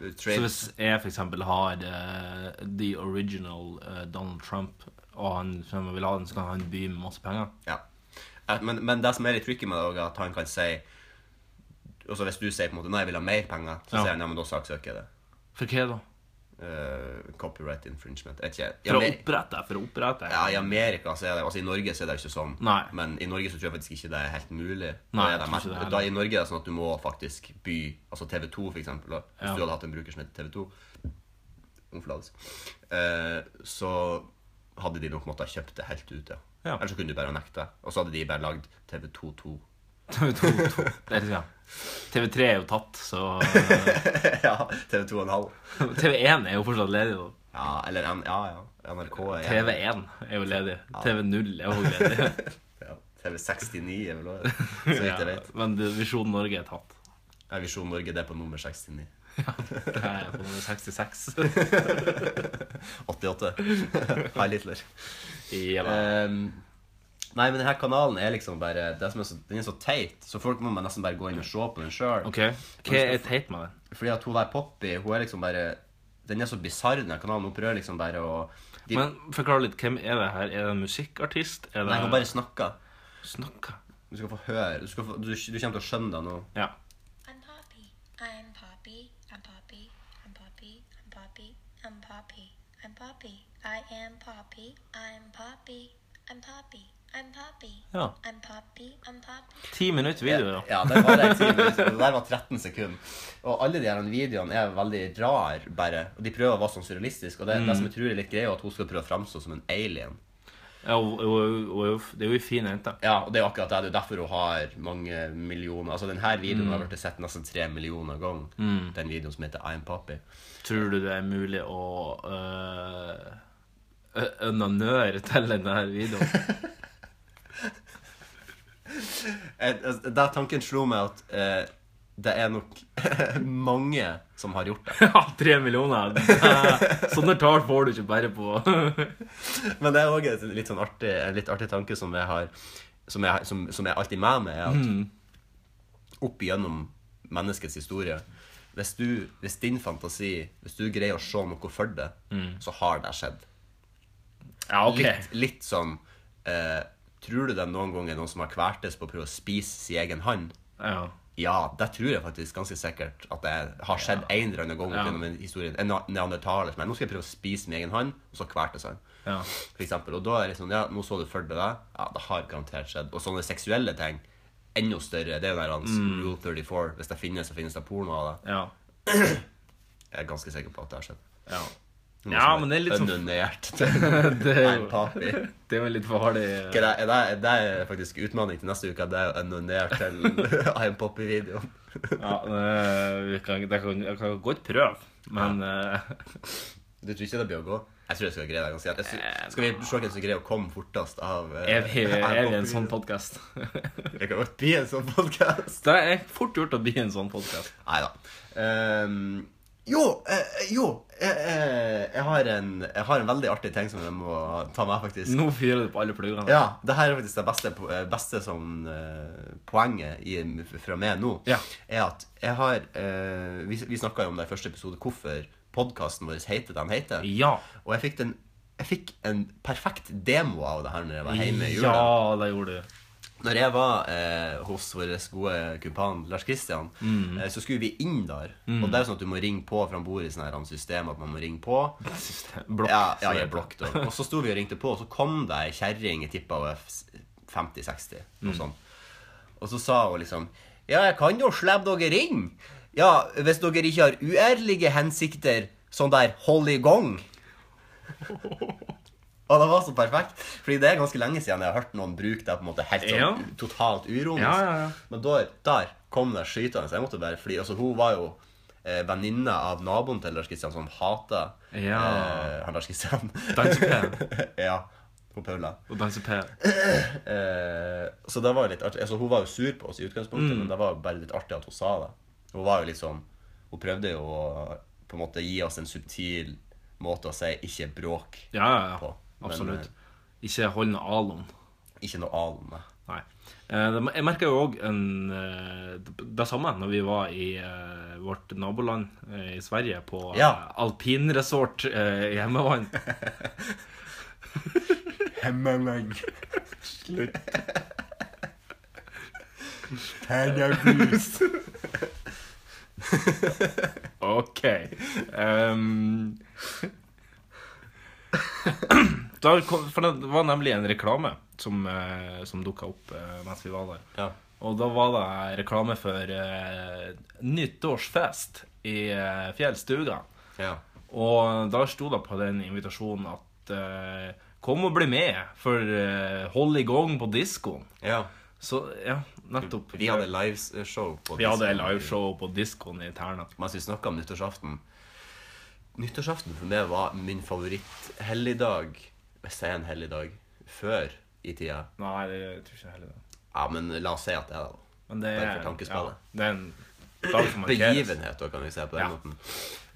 B: Så
C: trade,
B: hvis jeg for eksempel har eh, the original eh, Donald Trump, og han fremme vil ha den, så kan han by med masse penger?
C: Ja. Eh, Men, men det som er litt tricky med det, også, er at han kan si Altså Hvis du sier på en måte 'nei, jeg vil ha mer penger', så
B: Ja.
C: sier han ja, men da saksøker jeg det.
B: For hva da?
C: Eh, copyright infringement. Jeg vet ikke. I,
B: For å
C: Amer
B: opprette deg? For å opprette
C: ja, I
B: deg?
C: Amerika så er det Altså i Norge så er det jo ikke sånn.
B: Nei.
C: Men i Norge så tror jeg faktisk ikke det er helt mulig.
B: Nei,
C: Da er
B: jeg tror
C: det
B: ikke
C: mer-
B: det heller.
C: da I Norge er det sånn at du må faktisk by Altså TV2, for eksempel. Da. Hvis
B: Ja.
C: du hadde hatt en bruker som het TV2 om forlatelse, eh, så hadde de nok måttet kjøpt det helt ut, ja.
B: Ja.
C: Eller så kunne du bare nekte. Og så hadde de bare lagd TV22.
B: TV2 det er liksom, ja. TV3 er jo tatt, så eh,
C: ja, TV2,5.
B: TV1 er jo fortsatt ledig. da.
C: Ja, eller N ja, ja. NRK er
B: TV1 er jo ledig. TV0 er jo ledig.
C: Ja, TV69 er vel også det, så vidt jeg vet.
B: Ja, Men det- Visjon Norge er tatt.
C: Ja, Visjon Norge det er på nummer 69.
B: Det er på nummer 66.
C: 88. Hei, Littler.
B: Ja, da.
C: Ehm, nei, men denne kanalen er liksom bare det som er så, Den er så teit, så folk må man nesten bare gå inn og se på den sjøl.
B: OK. Hva er teit med det?
C: Fordi at hun der Poppy, hun er liksom bare Den er så bisarr, den her kanalen. Hun prøver liksom bare å de,
B: Men forklar litt, hvem er det her? Er det en musikkartist? Er
C: Nei, hun
B: det
C: bare snakker.
B: Snakker?
C: Du skal få høre. Du, skal få, du, du kommer til å skjønne det nå.
B: Ja.
F: I'm Poppy. I'm Poppy. I'm Poppy. I'm Poppy. I'm Poppy. I'm Poppy. I'm Poppy. I am Poppy. I'm Poppy. I'm Poppy. I'm Poppy.
B: Ja.
F: I'm Poppy. I'm Poppy.
B: Ti minutter video, da.
C: Ja, det var det en time. Det der var 13 sekunder. Og alle de her videoene er veldig rar, bare. Og de prøver å være sånn surrealistisk. Og det, det som jeg tror er litt greia, er at hun skal prøve å framstå som en alien.
B: Ja, hun- hun- hun er jo f- det er jo ei fin jente.
C: Ja, og det er jo akkurat det. Det er jo derfor hun har mange millioner Altså, denne videoen har blitt sett nesten tre millioner ganger. Den videoen som heter I'm Poppy.
B: Tror du det er mulig å øh, ø- onanøre til denne videoen?
C: Eh, altså, Der tanken slo meg at eh, det er nok mange som har gjort det.
B: Ja, tre millioner! Sånne tall får du ikke bare på
C: Men det er òg en litt sånn artig, en litt artig tanke som jeg har Som jeg, som, som jeg alltid med meg, er at opp igjennom menneskets historie hvis, du, hvis din fantasi Hvis du greier å se noe for deg, så har det skjedd.
B: Ja, OK.
C: Litt, litt sånn eh, Tror du det noen gang er noen som har kvertes på å prøve å spise sin egen hånd?
B: Ja.
C: Ja, det tror jeg faktisk ganske sikkert at det har skjedd en eller annen gang.
B: Ja.
C: opp gjennom historien En na- neandertaler som er, nå skal jeg prøve å spise min egen hånd, og så kvertes han.
B: Ja.
C: For eksempel. Og da er det sånn, ja, nå så du for deg det. Ja, det har garantert skjedd. Og sånne seksuelle ting. Enda større. Det er jo den hans
B: Mm.
C: Rule 34. Hvis det finnes, så finnes det porno av det.
B: ja.
C: Jeg er ganske sikker på at det har skjedd.
B: Ja, ja men det er litt sånn
C: Unønnert til
B: Det er
C: en papi.
B: Det er jo litt for eh. harde
C: Ok, Det er, det er, det er faktisk utfordring til neste uke. at Det er å unonere til I'm Poppy-videoen.
B: ja, øh, vi kan, det kan, Jeg kan godt prøve, men øh,
C: Du tror ikke det blir å gå? Jeg tror jeg skal greie det ganske greit. Jeg sy- Skal vi se hvem som greier å komme fortest av eh,
B: er vi, er vi en
C: Poppy-videoen?
B: sånn podkast?
C: Det kan godt bli en sånn podkast.
B: Det er fort gjort å bli en sånn podkast.
C: Nei da. Ehm, jo, eh, jo eh, eh, jeg, har en, jeg har en veldig artig ting som jeg må ta med, faktisk.
B: Nå fyrer du på alle pluggene.
C: Ja, det her er faktisk det beste, po- eh, beste sånn, eh, poenget i, fra meg nå.
B: Ja.
C: Er at jeg har eh, Vi, vi snakka jo om det i første episode hvorfor podkasten vår heter det den heter.
B: Ja.
C: Og jeg fikk, den, jeg fikk en perfekt demo av det her når jeg var hjemme i jula.
B: Ja, det gjorde du.
C: Når jeg var eh, hos vår gode kumpan Lars Kristian,
B: Mm.
C: eh, så skulle vi inn der. Og det er jo sånn at du må ringe på fra bord i sånne her system at man må ringe på.
B: Blokk.
C: Ja,
B: så
C: ja i
B: det-
C: en blokk, da. Og så sto vi og ringte på, og så kom det ei kjerring, jeg tippa hun er f-
B: Mm.
C: 50-60, noe sånt. Og så sa hun liksom Ja, jeg kan jo slippe dere inn, Ja, hvis dere ikke har uærlige hensikter, sånn der hold i gang. Og det var så perfekt. Fordi det er ganske lenge siden jeg har hørt noen bruke det på en måte helt sånn
B: Ja.
C: u- totalt uronisk.
B: Ja, ja, ja.
C: Men da, der kom det skytende. så Jeg måtte bare fly. Altså, hun var jo eh, venninne av naboen til Lars Kristian, som hata
B: Ja.
C: eh, han Lars Kristian.
B: Dansepen.
C: ja. Hun Paula.
B: Og danse per.
C: Eh, så det var jo litt artig. Altså, hun var jo sur på oss i
B: Mm.
C: utgangspunktet, men det var jo bare litt artig at hun sa det. Hun var jo litt sånn Hun prøvde jo å på en måte gi oss en subtil måte å si 'ikke bråk'.
B: Ja, ja, ja.
C: På. Men, eh,
B: Absolutt. Ikke hold noe alon.
C: Ikke noe alen. nei.
B: Nei. Eh, det- Jeg merka jo òg det samme når vi var i eh, vårt naboland eh, i Sverige, på
C: Ja.
B: eh, alpinresort eh, i Hemmevann.
C: Hemmelang. Slutt.
B: OK. Ehm. Da kom, for det var nemlig en reklame som, eh, som dukka opp eh, mens vi var der.
C: Ja.
B: Og da var det reklame for eh, nyttårsfest i eh, Fjellstuga.
C: ja.
B: Og da sto det på den invitasjonen at eh, Kom og bli med, for eh, hold i gang på diskoen.
C: Ja.
B: Så ja, nettopp.
C: Vi hadde liveshow på
B: Vi hadde
C: Disney.
B: liveshow på diskoen i Terna.
C: Mens vi snakka om nyttårsaften Nyttårsaften for meg var min favoritt-helligdag, hvis det er en helligdag, før i tida.
B: Nei, det jeg tror ikke jeg heller det.
C: Ja, men la oss si at det er det.
B: Men det er,
C: Bare for tankespillet.
B: Ja, det er en dag som markeres.
C: Begivenhet, da, kan vi se på den
B: Ja.
C: måten.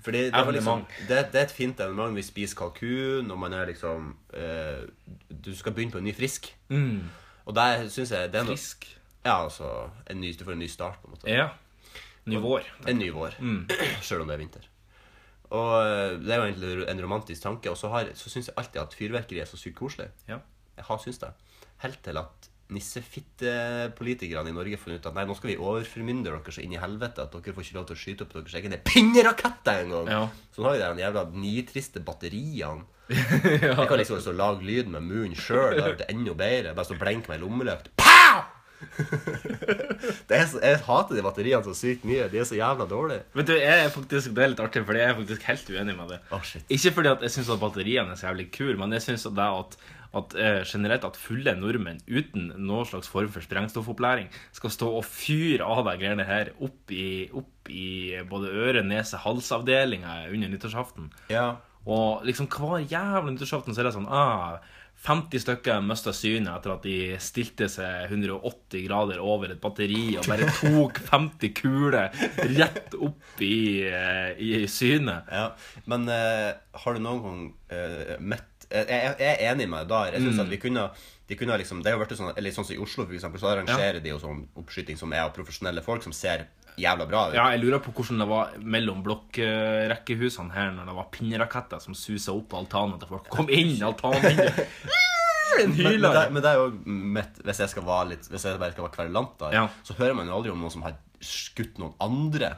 C: Fordi det, var liksom,
B: Evenement.
C: det, det er et fint evenement. Vi spiser kalkun, og man er liksom eh, Du skal begynne på en ny frisk. Og der syns jeg det er noe,
B: Mm. Frisk.
C: Ja, altså en ny, Du får en ny start, på en måte.
B: Ja. Mm. Ny vår.
C: En ny vår. Sjøl om det er vinter. Og eh, det er jo egentlig en romantisk tanke. Og så, har- så syns jeg alltid at fyrverkeri er så sykt koselig.
B: Ja.
C: Jeg har syntes det. Helt til at nissefittepolitikerne i Norge fant ut at nei, nå skal vi overformynde dere så inn i helvete at dere får ikke lov til å skyte opp deres egne pinneraketter engang.
B: Ja.
C: Sånn har vi de der jævla nitriste batteriene. Jeg kan liksom også lage lyden med munnen sjøl. Da er det enda bedre. Bare så blink med en lommelykt. Pow! det er så, jeg hater de batteriene så sykt mye. De er så jævla dårlige.
B: Vet du, jeg er faktisk, Det er litt artig, for jeg er faktisk helt uenig med det.
C: Å, shit.
B: Ikke fordi at jeg syns batteriene er så jævlig kule, men jeg syns at det at, at eh, generelt at fulle nordmenn uten noen slags form for sprengstoffopplæring skal stå og fyre av de greiene her opp i, opp i både øre-, nese-, halsavdelinga under nyttårsaften.
C: Ja.
B: Og liksom hver jævla nyttårsaften så er det sånn ah, 50 stykker mista synet etter at de stilte seg 180 grader over et batteri og bare tok 50 kuler rett opp i, eh, i synet.
C: ja. Men eh, har du noen gang uh, møtt eh, jeg, jeg er enig med deg der. Jeg synes
B: Mm.
C: at vi kunne de kunne ha liksom, det har jo vært sånn, eller sånn som I Oslo for eksempel, så arrangerer de jo sånn oppskyting som er av profesjonelle folk som ser jævla bra ut.
B: Ja, jeg lurer på hvordan det var mellom blokkrekkehusene her når det var pinneraketter som susa opp på altanen til folk. Kom inn, altanvinduet! En
C: Men, men, det,
B: hyler!
C: men det er jo mitt Hvis jeg skal være litt Hvis jeg bare skal være kverulant der,
B: Ja.
C: så hører man jo aldri om noen som har skutt noen andre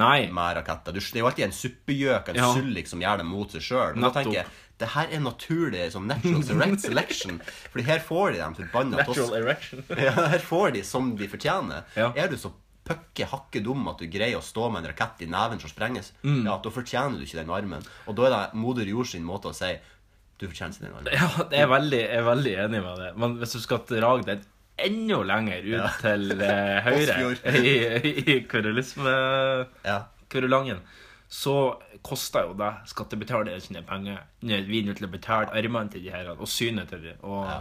B: Nei.
C: med raketter. Du, det er jo alltid en suppegjøk, en
B: Ja.
C: sullik, som gjør det mot seg sjøl. Da
B: Nettopp.
C: tenker jeg det her er naturlig sånn natural select- selection. Fordi her får de dem forbanna
B: Natural
C: tosk.
B: erection.
C: Ja, her får de som de fortjener.
B: Ja.
C: Er du så pøkke hakke dum at du greier å stå med en rakett i neven som sprenges,
B: Mm.
C: ja, da fortjener du ikke den armen. Og da er det moder jord sin måte å si du fortjener ikke den armen.
B: Ja, det er veldig, jeg er veldig enig med det. Men hvis du skal dra den enda lenger ut til eh, høyre
C: Åsfjord.
B: i, i kurulisme...
C: Ja.
B: Kurulangen, så koster jo det skattebetalere sine penger. Når vi er nødt til å betale armene til de her, og synet til de, og,
C: Ja.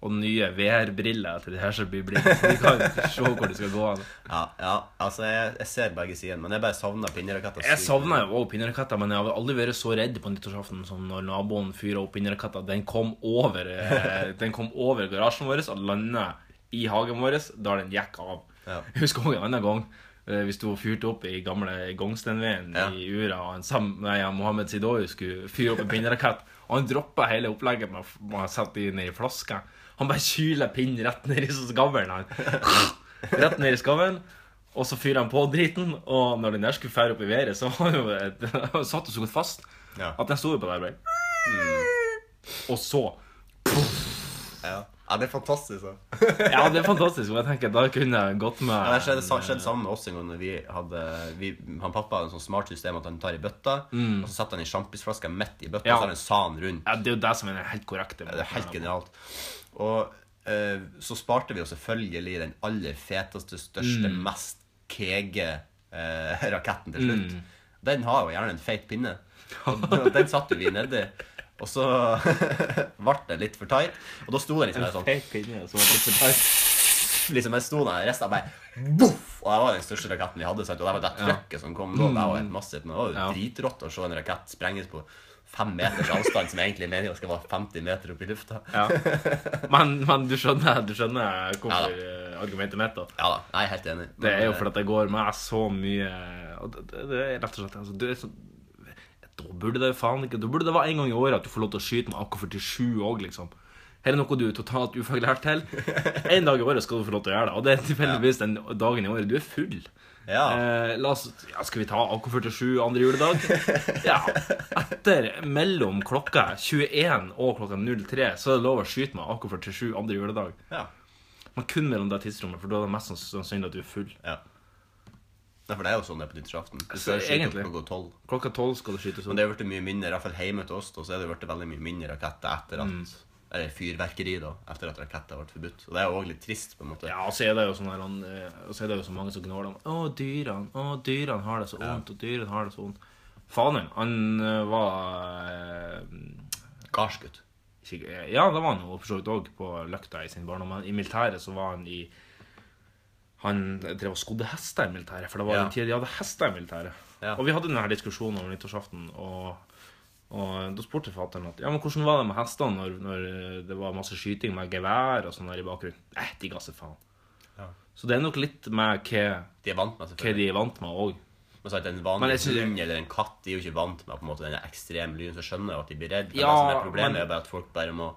B: og nye VR-briller til de her som blir blinde. Så de kan se hvor de skal gå an.
C: Ja, ja, altså jeg, jeg ser begge sidene, men jeg bare savner pinneraketter.
B: Jeg
C: sykt.
B: savner jo også pinneraketter, men jeg har aldri vært så redd på nyttårsaften som når naboen fyrer opp pinneraketter. Den kom over eh, Den kom over garasjen vår og landa i hagen vår da den gikk av.
C: Ja.
B: Jeg husker også en annen gang eh, vi sto og fyrte opp i gamle gangstenveien
C: Ja.
B: i Ura, og en sam, nei, ja, Mohammed Sidoy skulle fyre opp en pinnerakett. Og han droppa hele opplegget med, å- med å sette de ned i flaska. Han bare kyler pinnen rett ned i skavlen. Han. Rett ned i skavlen. Og så fyrer han på driten, og når den der skulle fære opp i været, så var han jo et, han satt jo så godt fast
C: Ja. Mm.
B: at den sto jo på der. Bare. Og så
C: Ja. Ja, det er fantastisk. altså. da.
B: Ja, det er fantastisk. Men jeg tenker, da kunne jeg gått med
C: Ja, det skjedde, sa- skjedde sammen med oss en gang når vi hadde vi, Han pappa hadde en sånn smart system at han tar i bøtta, og så setter han i sjampisflaska midt i bøtta,
B: Mm. Ja.
C: og så har han saen rundt.
B: Ja, det er jo det som er den helt korrekte.
C: Det er helt genialt. Og eh, så sparte vi jo selvfølgelig den aller feteste, største, mest kege eh, raketten til slutt. Den har jo gjerne en feit pinne. Og den- den satte vi nedi. Og så ble det litt for tight. Og da sto den liksom der sånn.
B: Helt pinne, som er litt for tight.
C: Liksom jeg sto der, resten av meg boff! Og det var den største raketten vi hadde. Sant? Og det var det trøkket som kom da. Det var helt massivt. Men det var jo
B: Ja.
C: dritrått å se en rakett sprenges på fem meters avstand, som egentlig meningen skal være 50 meter opp i lufta.
B: Ja. Men, men du skjønner, du skjønner
C: Ja da.
B: hvorfor eh, argumentet mitt, da.
C: Ja da, jeg er helt enig.
B: Det er jo
C: Men, eh,
B: fordi at det går med så mye og det, det, det er rett og slett altså, det er sånn, Da burde det faen ikke Da burde det være en gang i året at du får lov til å skyte med AK-47 òg, liksom. Her er noe du er totalt ufaglært til. En dag i året skal du få lov til å gjøre det. Og det er tilfeldigvis den dagen i året du er full.
C: Ja.
B: Eh, la oss, ja, skal vi ta AK-47 andre juledag? Ja. Etter mellom klokka 21 og klokka 03 så er det lov å skyte med AK-47 andre juledag.
C: Ja.
B: Men kun mellom det tidsrommet, for da er det mest sanns- sannsynlig at du er full.
C: ja. Nei, for det er jo sånn det er på nyttårsaften. Du
B: Så
C: skal jo skyte
B: Altså, egentlig-
C: opp klokka tolv.
B: Klokka tolv skal det skytes
C: Men
B: opp.
C: det har blitt mye mindre, i hvert fall hjemme til oss, da, så er det jo blitt veldig mye mindre raketter etter at
B: Mm.
C: Eller fyrverkeri, da, etter at raketter ble forbudt. Og det er jo òg litt trist, på en måte.
B: Ja, og så er det jo sånn her, han, eh, og så er det jo så mange som gnåler om Å, dyrene, å, dyrene har det så vondt, og dyrene har det så vondt. Faderen, han eh, var eh,
C: Garsgutt.
B: ikke- eh, Ja, det var han jo for så vidt òg, på løkta i sin barndom. Men i militæret så var han i Han drev og skodde hester i militæret, for det var
C: Ja.
B: den tida de hadde hester i militæret.
C: Ja.
B: Og vi hadde denne her diskusjonen over nyttårsaften, og, og da spurte fatter'n at ja, men hvordan var det med hestene når, når det var masse skyting med gevær og sånn her i bakgrunnen? Eh, de ga seg faen. Så det er nok litt med hva,
C: De er vant med
B: hva
C: selvfølgelig.
B: de er vant med òg.
C: Men sant, en
B: Men
C: vanlig
B: jeg synes-
C: hund eller en katt de er jo ikke vant med på en måte den ekstreme lyden, så skjønner jeg at de blir redd. Men
B: Ja,
C: det som er
B: men-
C: problemet,
B: Mm.
C: er bare at folk bare må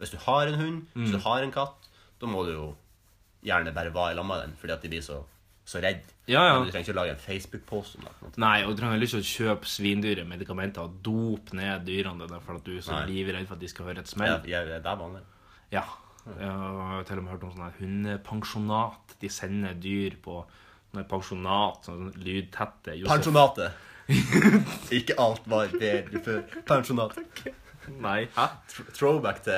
C: Hvis du har en hund, hvis du har en katt, da må du jo gjerne bare være i lag med den, fordi at de blir så, så redd.
B: Ja, ja.
C: Men du trenger ikke lage en Facebook-post om det. på en måte.
B: Nei, og du trenger ikke å kjøpe svindyre medikamenter og dope ned dyrene dine for at du er så
C: Nei.
B: livredd for at de skal høre et
C: Ja,
B: smell.
C: ja, det er vanlig.
B: Ja. Jeg har til og med hørt om sånn her hundepensjonat. De sender dyr på sånne pensjonat, sånn lydtette Josef-
C: Pensjonatet. Ikke alt var bedre før. Pensjonat.
B: Nei, hæ?
C: Tr- Throwback til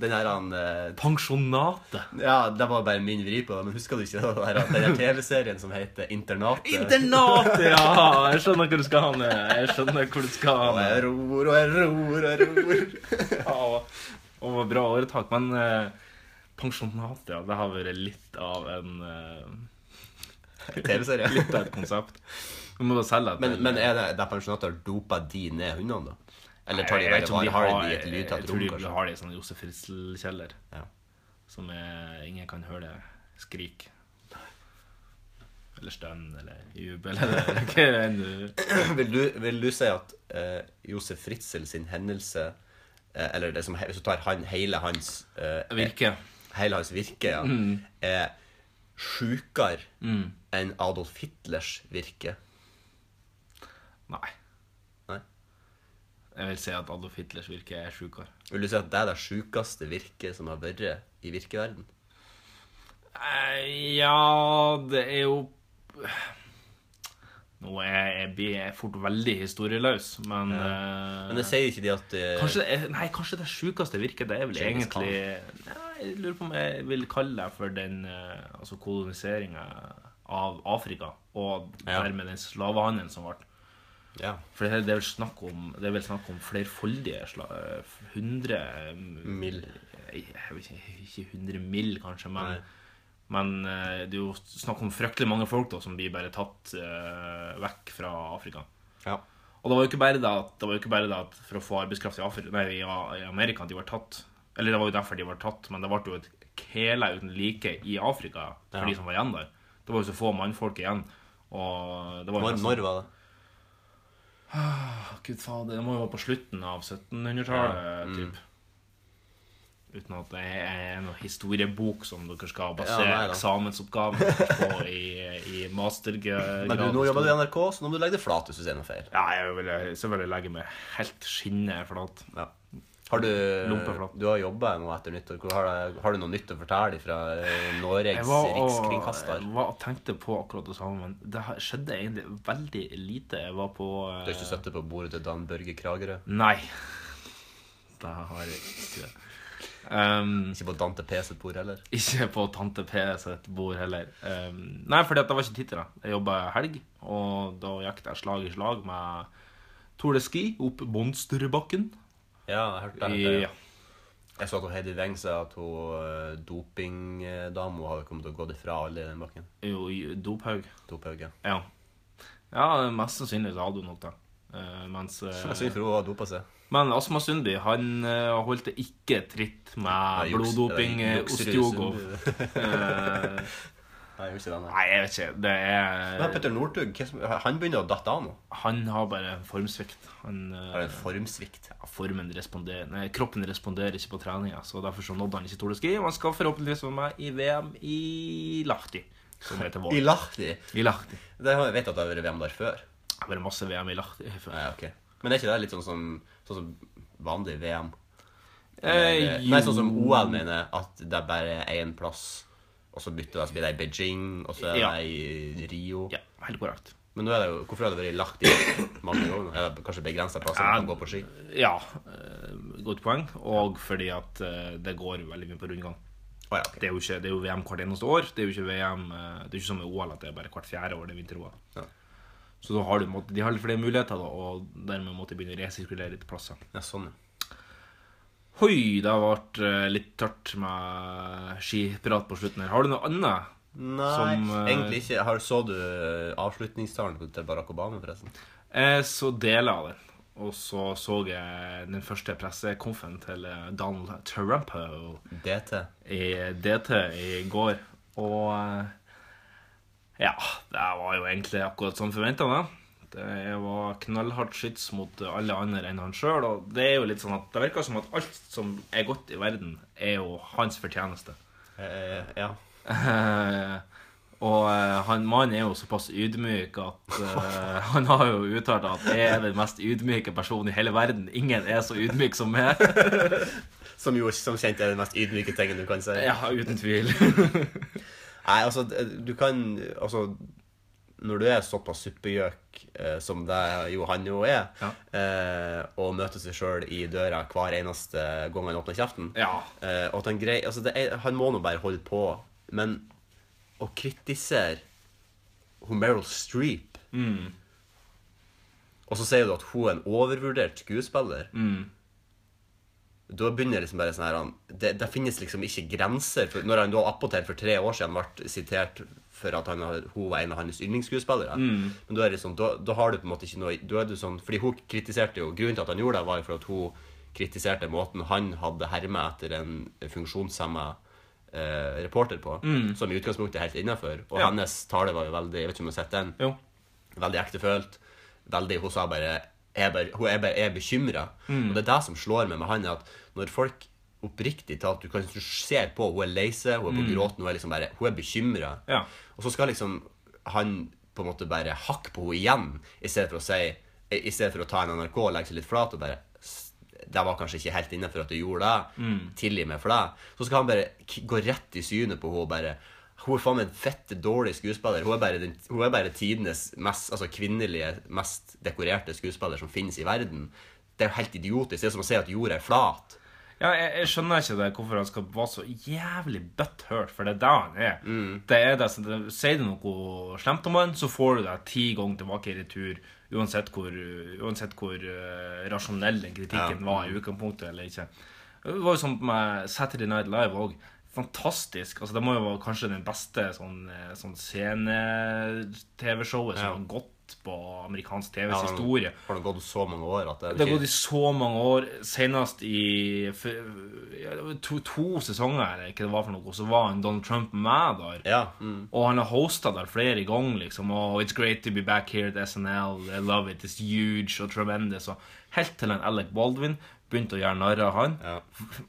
C: den her han eh,
B: Pensjonatet!
C: Ja, det var bare min vri på det, men husker du ikke den her- den her TV-serien som heter Internatet?
B: Internatet, ja! Jeg skjønner hvor du skal ha med. Jeg skjønner hvor du skal ha
C: Og
B: med.
C: jeg ror og jeg ror og jeg ror.
B: Ja, og, og bra åretak. Men eh, pensjonatet, ja, det har vært litt av en eh,
C: TV-serie.
B: Litt av et konsept. Vi må bare selge det.
C: Men,
B: til-
C: men er det der pensjonater dopa de ned hundene, da? Eller tar de
B: Jeg vet
C: bare
B: ikke om
C: vare? Har de i et
B: jeg-
C: lydtatt rom,
B: Jeg tror de
C: kanskje?
B: har det i sånn Josef Fritzl-kjeller.
C: Ja.
B: Som er, ingen kan høre det skrik. Eller stønn, eller jubel, eller hva enn du
C: Vil du, vil du si at eh, Josef Fritzl sin hendelse eh, Eller det som, he- hvis du tar han, hele hans eh,
B: virker.
C: hele hans virke ja, er sjukere enn Adolf Hitlers virke.
B: Nei.
C: Nei?
B: Jeg vil si at Adolf Hitlers virke er sjukere.
C: Vil du si at det er det sjukeste virket som har vært i virkeverden?
B: Eh, Ja, det er jo Nå er jeg, blir jeg fort veldig historieløs, men, eh,
C: Men det sier ikke de at eh,
B: kanskje, det er, Nei, kanskje det sjukeste virket, det er vel
C: Genghis Khan.
B: egentlig Nei, Jeg lurer på om jeg vil kalle det for den eh, altså koloniseringa av Afrika, og
C: Ja.
B: dermed den slavehandelen som ble.
C: ja.
B: For det, her- det er vel snakk om, det er vel snakk om flerfoldige sla, eh, 100
C: Mill.
B: Jeg vet ikke, ikke 100 mill, kanskje, men,
C: Nei.
B: men eh, det er jo snakk om fryktelig mange folk da, som blir bare tatt eh, vekk fra Afrika.
C: ja.
B: Og det var jo ikke bare det at, det var jo ikke bare det at for å få arbeidskraft i, Afri- nei, i A- i Amerika at de var tatt Eller det var jo derfor de var tatt, men det ble jo et kele uten like i Afrika for
C: Ja.
B: de som var igjen der. Det var jo så få mannfolk igjen. Og det var jo
C: Når,
B: nesten-
C: når var det?
B: Gud fader, det må jo være på slutten av 1700-tallet,
C: Mm.
B: typ. Uten at det er noen historiebok som dere skal basere
C: Ja, nei da.
B: eksamensoppgaven deres på i, i mastergrad.
C: Men du, nå jobber du i NRK, så nå må du legge det flat hvis du sier noe feil.
B: Ja, jeg vil selvfølgelig legge meg helt skinnet flat.
C: Ja. Har du,
B: Lumpeflapp.
C: du har jobba nå etter nyttår. Hvor har, du- har du noe nytt å fortelle fra
B: Jeg
C: Noregs
B: var og,
C: rikskringkaster?
B: jeg var og tenkte på akkurat det samme, men det har- skjedde egentlig veldig lite. Jeg var på eh,
C: Du har ikke sittet på bordet til Dan Børge Kragerø?
B: Nei. Det har jeg ikke. Um,
C: Ikke på Dante P sitt bord heller?
B: ikke på Tante P sitt bord heller. Um, nei, fordi at det var ikke tid til det. Jeg jobba helg, og da gikk jeg slag i slag med Tour de Ski opp Monsterbakken.
C: Ja, jeg hørte det.
B: I,
C: Ja. Jeg så at hun Heidi Weng sa at hun eh, dopingdama hadde kommet til å gått ifra alle i den bakken.
B: jo, i Dophaug.
C: Dophaug, ja.
B: Ja. ja, mest sannsynlig så hadde hun nok det. Eh, mens, eh,
C: Jeg synes for hun har dopa seg.
B: men Asma Sundby han eh, holdt det ikke tritt med
C: Det er juks-
B: bloddoping
C: det er
B: eh,
C: juks-
B: Ostiogov. Eh,
C: Nei, jeg gjorde ikke det, nei.
B: Nei, jeg vet ikke. Det
C: Men
B: er
C: Petter Northug, hva som- han begynner å datte av nå.
B: Han har bare en formsvikt. Han, eh,
C: Har en formsvikt.
B: ja, formen responderer Nei, kroppen responderer ikke på treninga, så derfor så nådde han ikke Tour de Ski. Og han skal forhåpentligvis være med i VM i Lahti, som heter
C: I
B: vår.
C: Lahti.
B: I Lahti.
C: Det har jeg vet at det har vært VM der før.
B: Det har vært masse VM i Lahti før.
C: Nei, ok. Men er ikke det litt sånn som, sånn som vanlig VM?
B: Eh,
C: Eller- Nei, sånn som OL mener at det er bare én plass, og så bytter det, så blir det i Beijing, og så er det
B: Ja.
C: i Rio.
B: Ja, helt korrekt.
C: Men nå er det jo, hvorfor har det vært lagt i mange ganger? Er det kanskje begrensa plasser man kan gå på ski?
B: Ja, eh, godt poeng. Og fordi at eh, det går veldig mye på rundgang.
C: Å ja, ok.
B: Det er jo, ikke, det er jo VM hvert eneste år. Det er jo ikke VM eh, Det er ikke som med OL at det er bare hvert fjerde år det er vinter-OL.
C: Ja.
B: Så da har du, måtte- de har litt flere muligheter, da, og dermed måtte begynne å resirkulere litt plasser.
C: Ja, sånn, ja.
B: Hoi, det har vært eh, litt tørt med skiprat på slutten her. Har du noe annet?
C: Nei,
B: Som, eh,
C: egentlig ikke. Har, så du eh, avslutningstalen til Barack Obama, forresten?
B: Eh, så deler jeg den. Og så så jeg den første pressekonfen til eh, Donald Trump. Og
C: DT.
B: i DT i går. Og eh, ja, det var jo egentlig akkurat som forventa, det. Det var knallhardt skyts mot alle andre enn han sjøl. Og det er jo litt sånn at det virker som at alt som er godt i verden, er jo hans fortjeneste.
C: Eh, ja.
B: Eh, og eh, han mannen er jo såpass ydmyk at eh, han har jo uttalt at jeg er den mest ydmyke personen i hele verden. Ingen er så ydmyk som meg.
C: Som jo som kjent er den mest ydmyke tingen du kan si.
B: Ja, uten tvil.
C: Nei, altså, d- du kan Altså, når du er såpass suppegjøk eh, som det jo han jo er,
B: Ja.
C: eh, og møter seg sjøl i døra hver eneste gang han åpner kjeften
B: Ja.
C: eh, og at Han grei, altså det er, han må nå bare holde på, men å kritisere hun Meryl Streep Og så sier du at hun er en overvurdert skuespiller.
B: Mm.
C: Da begynner liksom bare sånn her han- det, det finnes liksom ikke grenser. For, når han da appåtil for tre år siden ble sitert for at han, har- hun var en av hans yndlingsskuespillere
B: Mm.
C: Men da er det sånn, da, da har du på en måte ikke noe da er du sånn, Fordi hun kritiserte jo Grunnen til at han gjorde det, var jo for at hun kritiserte måten han hadde herma etter en funksjonshemma eh, reporter på, som i utgangspunktet er helt innafor. Og
B: Mm. Ja.
C: hennes tale var jo veldig Jeg vet ikke om du har sett den?
B: Jo.
C: Veldig ektefølt. Veldig, hun sa bare jeg bare, Hun er bare er bekymra. Og det er det som slår meg med han, er at når folk oppriktig talt Du kan du ser på hun er lei seg, hun er på gråten, hun er liksom bare Hun er bekymra.
B: Ja.
C: Og så skal liksom han på en måte bare hakke på henne igjen, i stedet for å si I stedet for å ta en NRK og legge seg litt flat og bare "S- det var kanskje ikke helt innenfor at du gjorde det.
B: Mm.
C: Tilgi meg for det. Så skal han bare k- gå rett i synet på henne og bare Hun er faen meg en fette dårlig skuespiller. Hun er bare, den, hun er bare tidenes mest altså kvinnelige, mest dekorerte skuespiller som finnes i verden. Det er jo helt idiotisk. Det er som å si at jorda er flat.
B: Ja, jeg, jeg skjønner ikke det, hvorfor han skal være så jævlig butthurt, for det er det han er. Det er det, så det, Sier du noe slemt om han, så får du det ti ganger tilbake i retur, uansett hvor, uansett hvor eh, rasjonell den kritikken var i utgangspunktet eller ikke. Det var jo sånn med Saturday Night Live òg. Fantastisk. altså Det må jo være kanskje den beste sånn, eh, sånn scene-TV-showet som har gått på amerikansk TVs
C: Har nå-
B: altså historie.
C: Har nå gått så mange år at det,
B: Det har gått i så mange år. Senest i f- ja, det var to, to sesonger, eller hva det var for noe, så var han Donald Trump med der.
C: Ja. Mm.
B: Og han har hosta der flere ganger, liksom. Og it's great to be back here at SNL. I love it. It's huge og tremendous. Og helt til han Alec Baldwin begynte å gjøre narr av han.
C: Ja.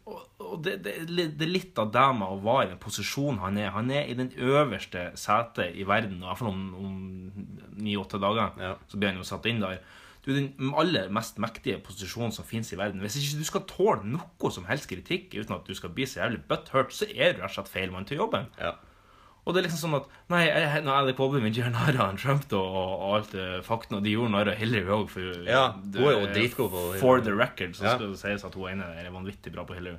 B: Og, og det, det, det er litt av det med å være i den posisjonen han er. Han er i den øverste setet i verden, i hvert fall om, om ni-åtte dager.
C: Ja.
B: Så blir han jo satt inn der. Du er den aller mest mektige posisjonen som fins i verden. Hvis ikke du skal tåle noe som helst kritikk uten at du skal bli så jævlig butthurt, så er du rett og slett feil mann til jobben.
C: Ja.
B: Og det er liksom sånn at Nei, jeg, nå er det påbudet mitt gjør narr av Trump da, og, og alt det fakten, og de gjorde narr av Hillary òg, for eh,
C: Ja, hun er jo dritgod på-
B: For the record, så
C: Ja.
B: skal det sies at hun ene er vanvittig bra på Hillary.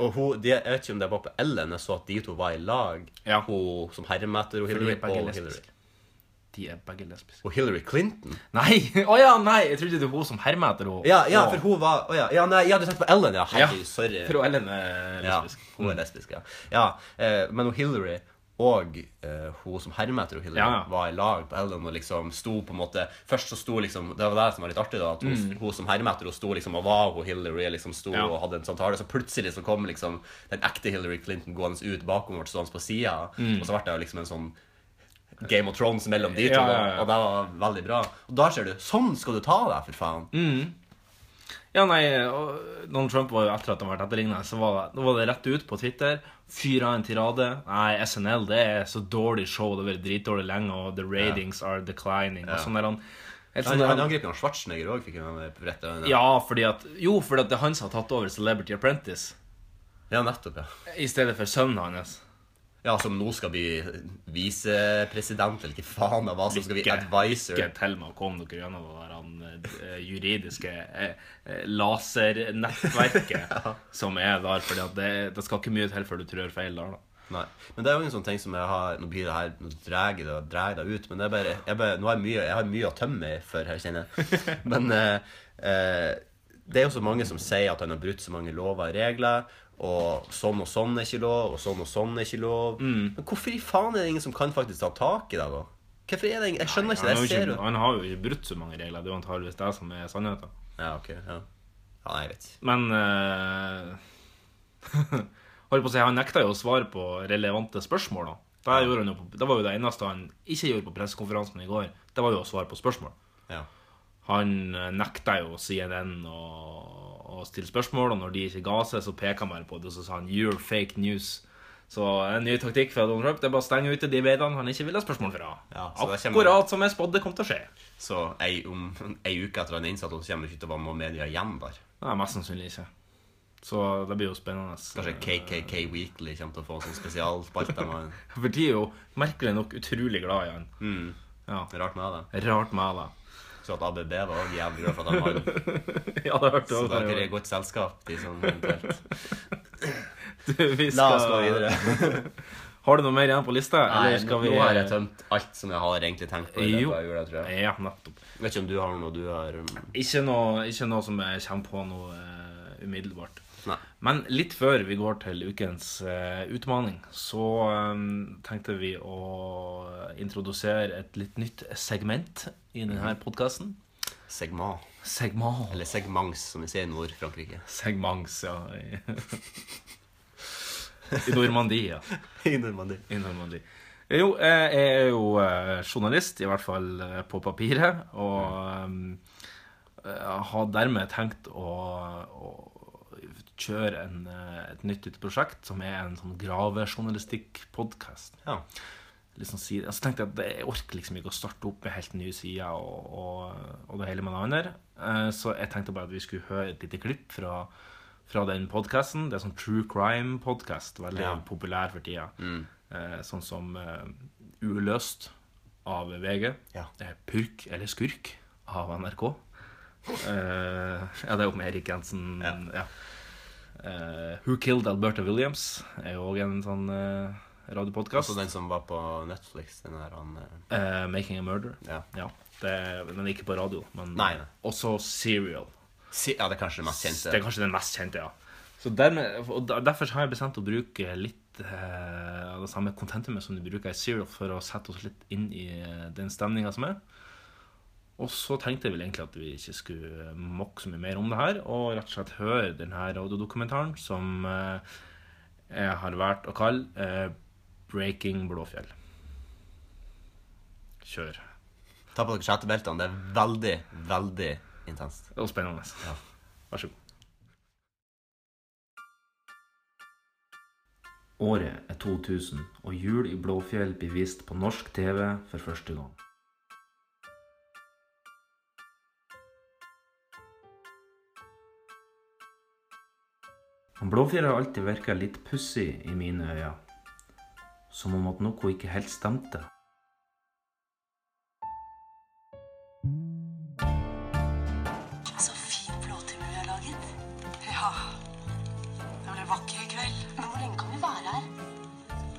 C: Og hun, de, jeg vet ikke om det var på Ellen jeg så at de to var i lag.
B: Ja.
C: Hun som hermet etter
B: For de
C: Hillary
B: er begge
C: og Hillary.
B: lesbiske. De er begge lesbiske.
C: Og Hillary Clinton?
B: Nei! Å ja, nei! Jeg trodde det var hun som hermet etter henne.
C: Ja, ja,
B: Å.
C: for hun var Å ja. ja nei, jeg hadde sett på Ellen, ja.
B: Ja,
C: Herregud, sorry.
B: For hun Ellen er
C: Ja,
B: lesbisk.
C: hun er lesbisk, ja. ja eh, men hun Hillary og eh, hun som hermet etter hun Hillary,
B: Ja, ja.
C: var i lag på Ellen og liksom sto på en måte Først så sto liksom Det var det som var litt artig, da. At hun, hun som hermet etter hun sto liksom og var hun Hillary, liksom sto
B: Mm. Ja.
C: og hadde en sånn tale. Så plutselig så kom liksom den ekte Hillary Clinton gående ut bakom og ble stående på sida.
B: Mm.
C: Og så ble det jo liksom en sånn Game of Thrones mellom de to,
B: Ja, ja, ja.
C: og det var veldig bra. Og da ser du Sånn skal du ta deg, for faen!
B: Mm, Ja, nei, og Donald Trump var jo etter at han ble etterlignet, så var det, nå var det rett ut på Twitter. Fyr av en tirade. Nei, SNL, det er så dårlig show, det har vært dritdårlig lenge, og the ratings are declining, og sånn der han... helt sånn
C: Han,
B: der
C: han
B: han-
C: angriper jo Schwarzenegger òg, fikk han på rettet.
B: Ja, fordi at, jo, fordi at det er han som har tatt over Celebrity Apprentice,
C: ja, nettopp, ja.
B: i stedet for sønnen hans.
C: Ja, som nå skal bli visepresident, eller hva faen det var, som skal bli
B: Lykke-
C: advisor.
B: Lykke til med å komme dere gjennom det der han, eh, juridiske eh, eh, lasernettverket som er der, fordi at det, det skal ikke mye til før du trør feil der, da.
C: Nei. Men det er jo en sånn ting som jeg har Nå blir det her, nå drar jeg det, drar jeg det ut, men det er bare, jeg, bare, nå har jeg, mye, jeg har mye å tømme for her, kjenner jeg. Men eh, eh, det er jo så mange som sier at han har brutt så mange lover og regler, og sånn og sånn er ikke lov, og sånn og sånn er ikke lov.
B: Mm.
C: Men hvorfor i faen er det ingen som kan faktisk ta tak i det, da? Hvorfor er det ingen? Jeg skjønner ikke
B: Han,
C: det.
B: har
C: Jeg
B: jo
C: ser
B: ikke,
C: jo
B: han har jo ikke brutt så mange regler. Det er jo antageligvis det som er sannheten.
C: Ja, OK. Ja. ja, nei, jeg vet ikke.
B: Men eh, holdt på å si, han nekta jo å svare på relevante spørsmål. da. Det, gjorde han jo på, det var jo det eneste han ikke gjorde på pressekonferansen i går. Det var jo å svare på spørsmål.
C: Ja.
B: Han eh, nekta jo CNN å å stille spørsmål, og når de ikke ga seg, så peka han bare på det, og så sa han 'you're fake news'. Så en ny taktikk fra Donald Trump det er bare å stenge ute de veidene han ikke vil ha spørsmål fra.
C: Ja, så det kommer-
B: Akkurat som jeg spådde kom til å skje.
C: Så ei, om ei uke etter han er innsatt, så kommer det ikke til å være noe media igjen der.
B: Nei, mest sannsynlig ikke. Så det blir jo spennende.
C: Kanskje KKK Weekly kommer til å få en sånn spesialspalte. men
B: For de er jo merkelig nok utrolig glad i han.
C: Mm.
B: Ja.
C: Rart med det.
B: Rart med det.
C: Så at ABB var også jævlig glad for at han var det.
B: ja, det hørte
C: Så
B: jeg
C: dere er i
B: også.
C: godt selskap. De som eventuelt.
B: Du, vi
C: La
B: skal-
C: oss gå videre.
B: Har du noe mer igjen på lista?
C: Nei,
B: eller skal
C: nå,
B: vi...
C: nå har jeg tømt alt som jeg har egentlig tenkt på. i
B: Jo.
C: løpet av jula, tror jeg.
B: Ja, nettopp.
C: Jeg Vet ikke om du har noe du har um,
B: Ikke noe, ikke noe som jeg kommer på noe eh, umiddelbart.
C: Nei.
B: Men litt før vi går til ukens eh, utmaning, så eh, tenkte vi å introdusere et litt nytt segment i denne podkasten.
C: Mhm. segment.
B: Segment.
C: Eller segments, som vi sier i Nord-Frankrike.
B: Segments, ja. I, I Normandie, ja.
C: I Normandie.
B: I Normandie. Jo, eh, jeg er jo eh, journalist, i hvert fall eh, på papiret, og eh, jeg har dermed tenkt å, å kjøre en, eh, et nytt lite prosjekt, som er en sånn gravejournalistikk-podkast
C: Ja.
B: liksom si det. Så tenkte jeg at det- jeg orker liksom ikke å starte opp med helt nye sider og, og, og det hele med det andre. Eh, Så jeg tenkte bare at vi skulle høre et lite klipp fra, fra den podkasten. Det er sånn true crime-podkast. Veldig
C: Ja. Mm.
B: populær for tida. Eh, Sånn som eh, Uløst av VG.
C: Ja.
B: Eh, Purk eller skurk av NRK. Eh, ja, det er jo med Erik Jensen. Ja. Eh, Who Killed Alberta Williams er jo òg en sånn uh, radiopodkast.
C: Også den som var på Netflix. Den der han eh,
B: Eh, Making a Murder.
C: Ja.
B: det, den er ikke på radio, men
C: Nei, nei.
B: også Serial.
C: si, Ja, det er kanskje det mest kjente.
B: Det er kanskje den mest kjente, ja. Så dermed, og der- derfor har jeg bestemt å bruke litt eh, av det samme kontentumet som du bruker i Serial, for å sette oss litt inn i eh, den stemninga som er. Og så tenkte jeg vel egentlig at vi ikke skulle mokke så mye mer om det her, og rett og slett høre denne radiodokumentaren som eh, jeg har valgt å kalle eh, 'Breaking Blåfjell'. Kjør.
C: Ta på dere setebeltene. Det er veldig, veldig intenst.
B: Det var spennende. Vær så god. Året er 2000, og Jul i Blåfjell blir vist på norsk TV for første gang. Han Blåfjell har alltid virka litt pussig i mine øyne. Som om at noe ikke helt stemte.
G: Så fin blåtimme vi har laget. Ja. Det ble vakker i kveld. Men hvor lenge kan vi være her?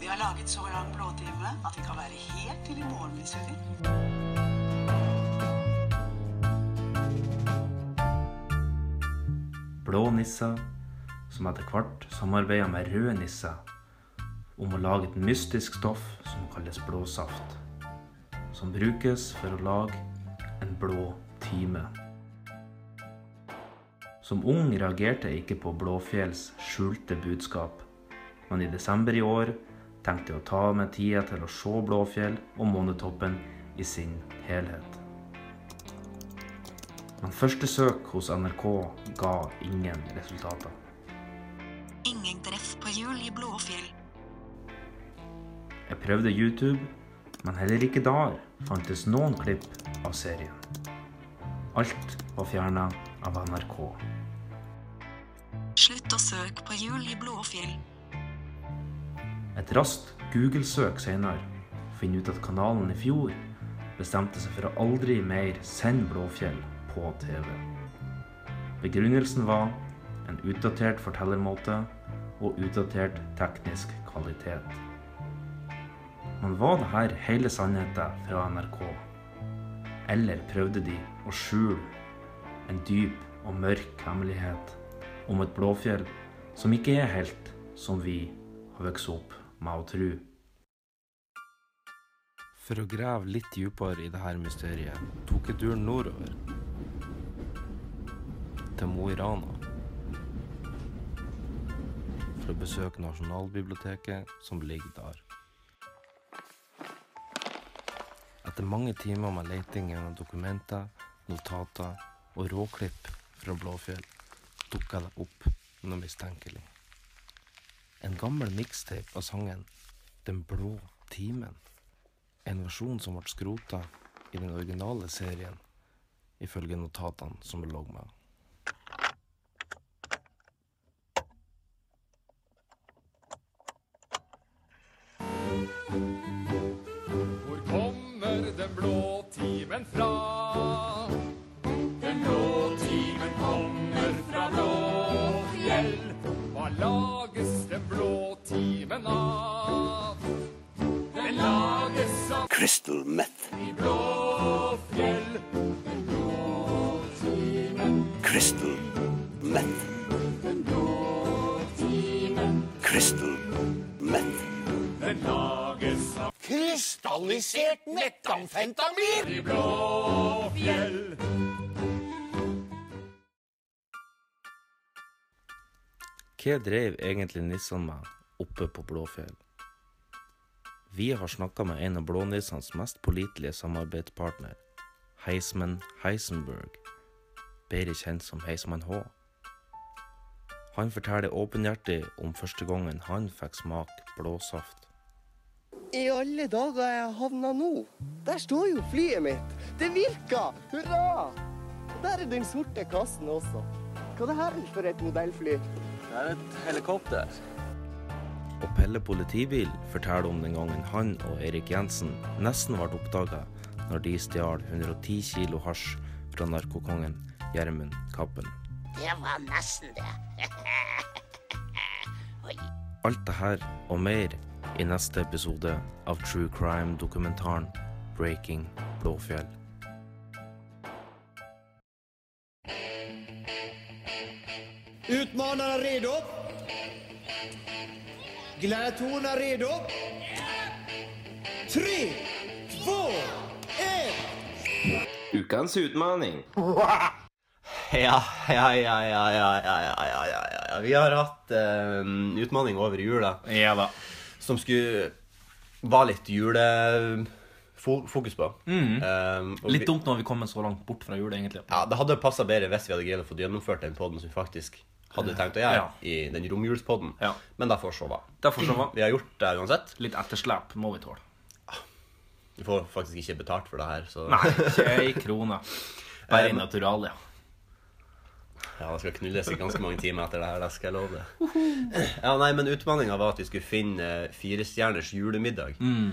G: Vi har laget så lang blåtime at vi kan være helt til i morgen hvis vi vil.
B: Blå nisser som etter hvert samarbeider med røde nisser om å lage et mystisk stoff som kalles blåsaft. Som brukes for å lage en blå time. Som ung reagerte jeg ikke på Blåfjells skjulte budskap. Men i desember i år tenkte jeg å ta meg tida til å se Blåfjell og månetoppen i sin helhet. Men første søk hos NRK ga ingen resultater.
H: Ingen treff på hjul i Blåfjell.
B: Jeg prøvde YouTube, men heller ikke der fantes noen klipp av serien. Alt var fjerna av NRK.
H: Slutt å søke på hjul i Blåfjell.
B: Et raskt Google-søk senere finner ut at kanalen i fjor bestemte seg for å aldri mer sende Blåfjell på TV. Begrunnelsen var en utdatert fortellermåte og utdatert teknisk kvalitet. Men var det her hele sannheten fra NRK? Eller prøvde de å skjule en dyp og mørk hemmelighet om et blåfjell som ikke er helt som vi har vokst opp med å tro?
I: For å grave litt dypere i det her mysteriet, tok jeg turen nordover. Til Mo i Rana. For å besøke Nasjonalbiblioteket som ligger der. Etter mange timer med leting gjennom dokumenter, notater og råklipp fra Blåfjell, dukka det opp noe mistenkelig. En gammel mixtape av sangen Den blå timen. En versjon som ble skrota i den originale serien, ifølge notatene som lå med.
J: Hvor kommer den blå timen fra? Den blå timen kommer fra Blåfjell. Hva lages den blå timen av? Den lages av
D: Crystal meth.
J: i Blåfjell.
D: Crystal meth. Crystal meth.
J: Den lages av
D: Krystallisert metamfentamin!
J: i Blåfjell.
I: Hva drev egentlig nissene med oppe på Blåfjell? Vi har snakka med en av blånissenes mest pålitelige samarbeidspartner, Heisman Heisenberg, bedre kjent som Heisman H. Han forteller åpenhjertig om første gangen han fikk smake blåsaft.
G: I alle dager er jeg havna nå. Der står jo flyet mitt. Det virker! Hurra! Og der er den sorte kassen også. Hva er det her for et modellfly?
D: Det er et helikopter.
I: Og Pelle politibil forteller om den gangen han og Erik Jensen nesten ble oppdaga når de stjal 110 kilo hasj fra narkokongen Gjermund Kappen.
G: Det var nesten det.
I: Alt det her og mer i neste episode av True Crime-dokumentaren Breaking Blåfjell.
J: Utmanarna redo? Gladiatorerna redo? Tre, två, ett!
B: Ukens utfordring.
C: Ja, ja, ja, ja, ja, ja, ja, ja, ja, ja, ja. Vi har hatt eh, utmanning over jula
B: Ja da.
C: som skulle Var litt julefokus på. Eh, og
B: Litt
C: vi,
B: dumt når vi kommer så langt bort fra jul, egentlig.
C: ja, det hadde passa bedre hvis vi hadde greid å få gjennomført den podden som vi faktisk hadde tenkt å gjøre,
B: Ja.
C: i den romjulspodden.
B: Ja.
C: Men derfor så hva.
B: Derfor så var
C: Vi har gjort det uansett.
B: litt etterslep må vi tåle.
C: Vi får faktisk ikke betalt for det her, så
B: Nei, ikke ei krone. Bare i naturalia.
C: Ja, det skal knulles i ganske mange timer etter det her, det skal jeg love deg. Ja, nei, men utfordringa var at vi skulle finne eh, firestjerners julemiddag.
J: Mm.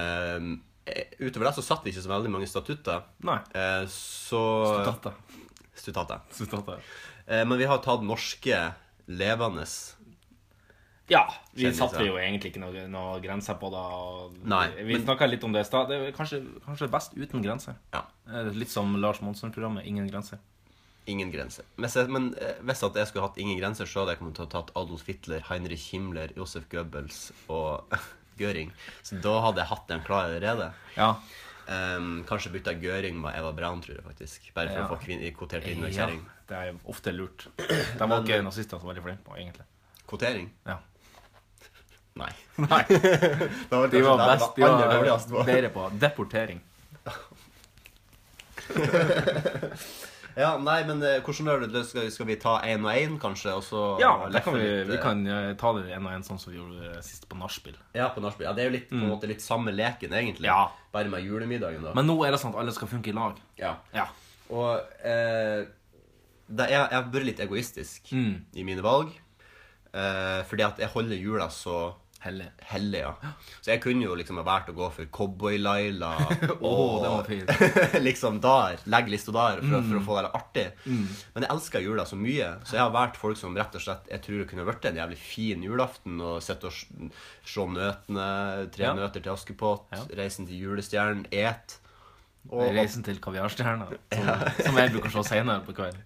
C: Ehm, eh, utover det så satt vi ikke så veldig mange statutter.
J: Nei.
C: Eh, så
J: Stutater.
C: Stutater.
J: Stutater.
C: Eh, men vi har tatt norske levende
J: Ja. Vi
C: Kjendiser.
J: satte jo egentlig ikke noe, noe grenser på det. Og
C: Nei,
J: vi
C: men-
J: snakka litt om det i stad. Det er Kanskje, kanskje best uten grenser.
C: Ja.
J: Eh, Litt som Lars Monsen-programmet Ingen grenser.
C: Ingen grenser. Hvis jeg, men eh, hvis at jeg skulle hatt ingen grenser, så hadde jeg kommet til å ha tatt Adolf Hitler, Heinrich Himmler, Josef Goebbels og Göring. Så da hadde jeg hatt den klar allerede.
J: Ja.
C: Ehm, kanskje bytta Göring med Eva Braun, tror jeg faktisk. Bare for
J: Ja.
C: å få kvin kvotert inn og
J: Ja,
C: kjerring.
J: det er ofte lurt. De var ikke nazister så veldig flinke på, egentlig.
C: Kvotering?
J: Ja.
C: Nei.
J: Nei.
C: Det var
J: De
C: kanskje
J: var
C: der det
J: best. De
C: aller
J: var
C: dårligst på.
J: bedre på deportering.
C: Ja, nei, men eh, hvordan gjør du det? Skal, skal vi ta én og én, kanskje? Og så
J: Ja, det
C: leffe
J: kan vi,
C: litt,
J: vi
C: eh,
J: kan eh, ta det en og en sånn som vi gjorde eh, sist på nachspiel.
C: Ja, på nachspiel. Ja, det er jo litt, på en måte litt samme leken, egentlig.
J: Mm. Ja.
C: Bare med julemiddagen, da.
J: Men nå er det sånn at alle skal funke i lag.
C: ja.
J: Ja.
C: Og eh, det, jeg, jeg har vært litt egoistisk
J: Mm.
C: i mine valg. Eh, fordi at jeg holder jula så
J: Hellig.
C: hellig, ja. Så jeg kunne jo liksom ha valgt å gå for Cowboy-Laila og
J: Åh, den var Mm.
C: liksom der. Legge lista der for, å- for å få det litt artig. Men jeg elsker jula så mye, så jeg har valgt folk som rett og slett jeg tror det kunne vært en jævlig fin julaften. Og sitte og s- se nøtene, tre
J: Ja.
C: nøter til Askepott,
J: Ja.
C: Reisen til julestjernen, et.
J: Reisen til kaviarstjerna, som, som jeg bruker å se senere på kvelden.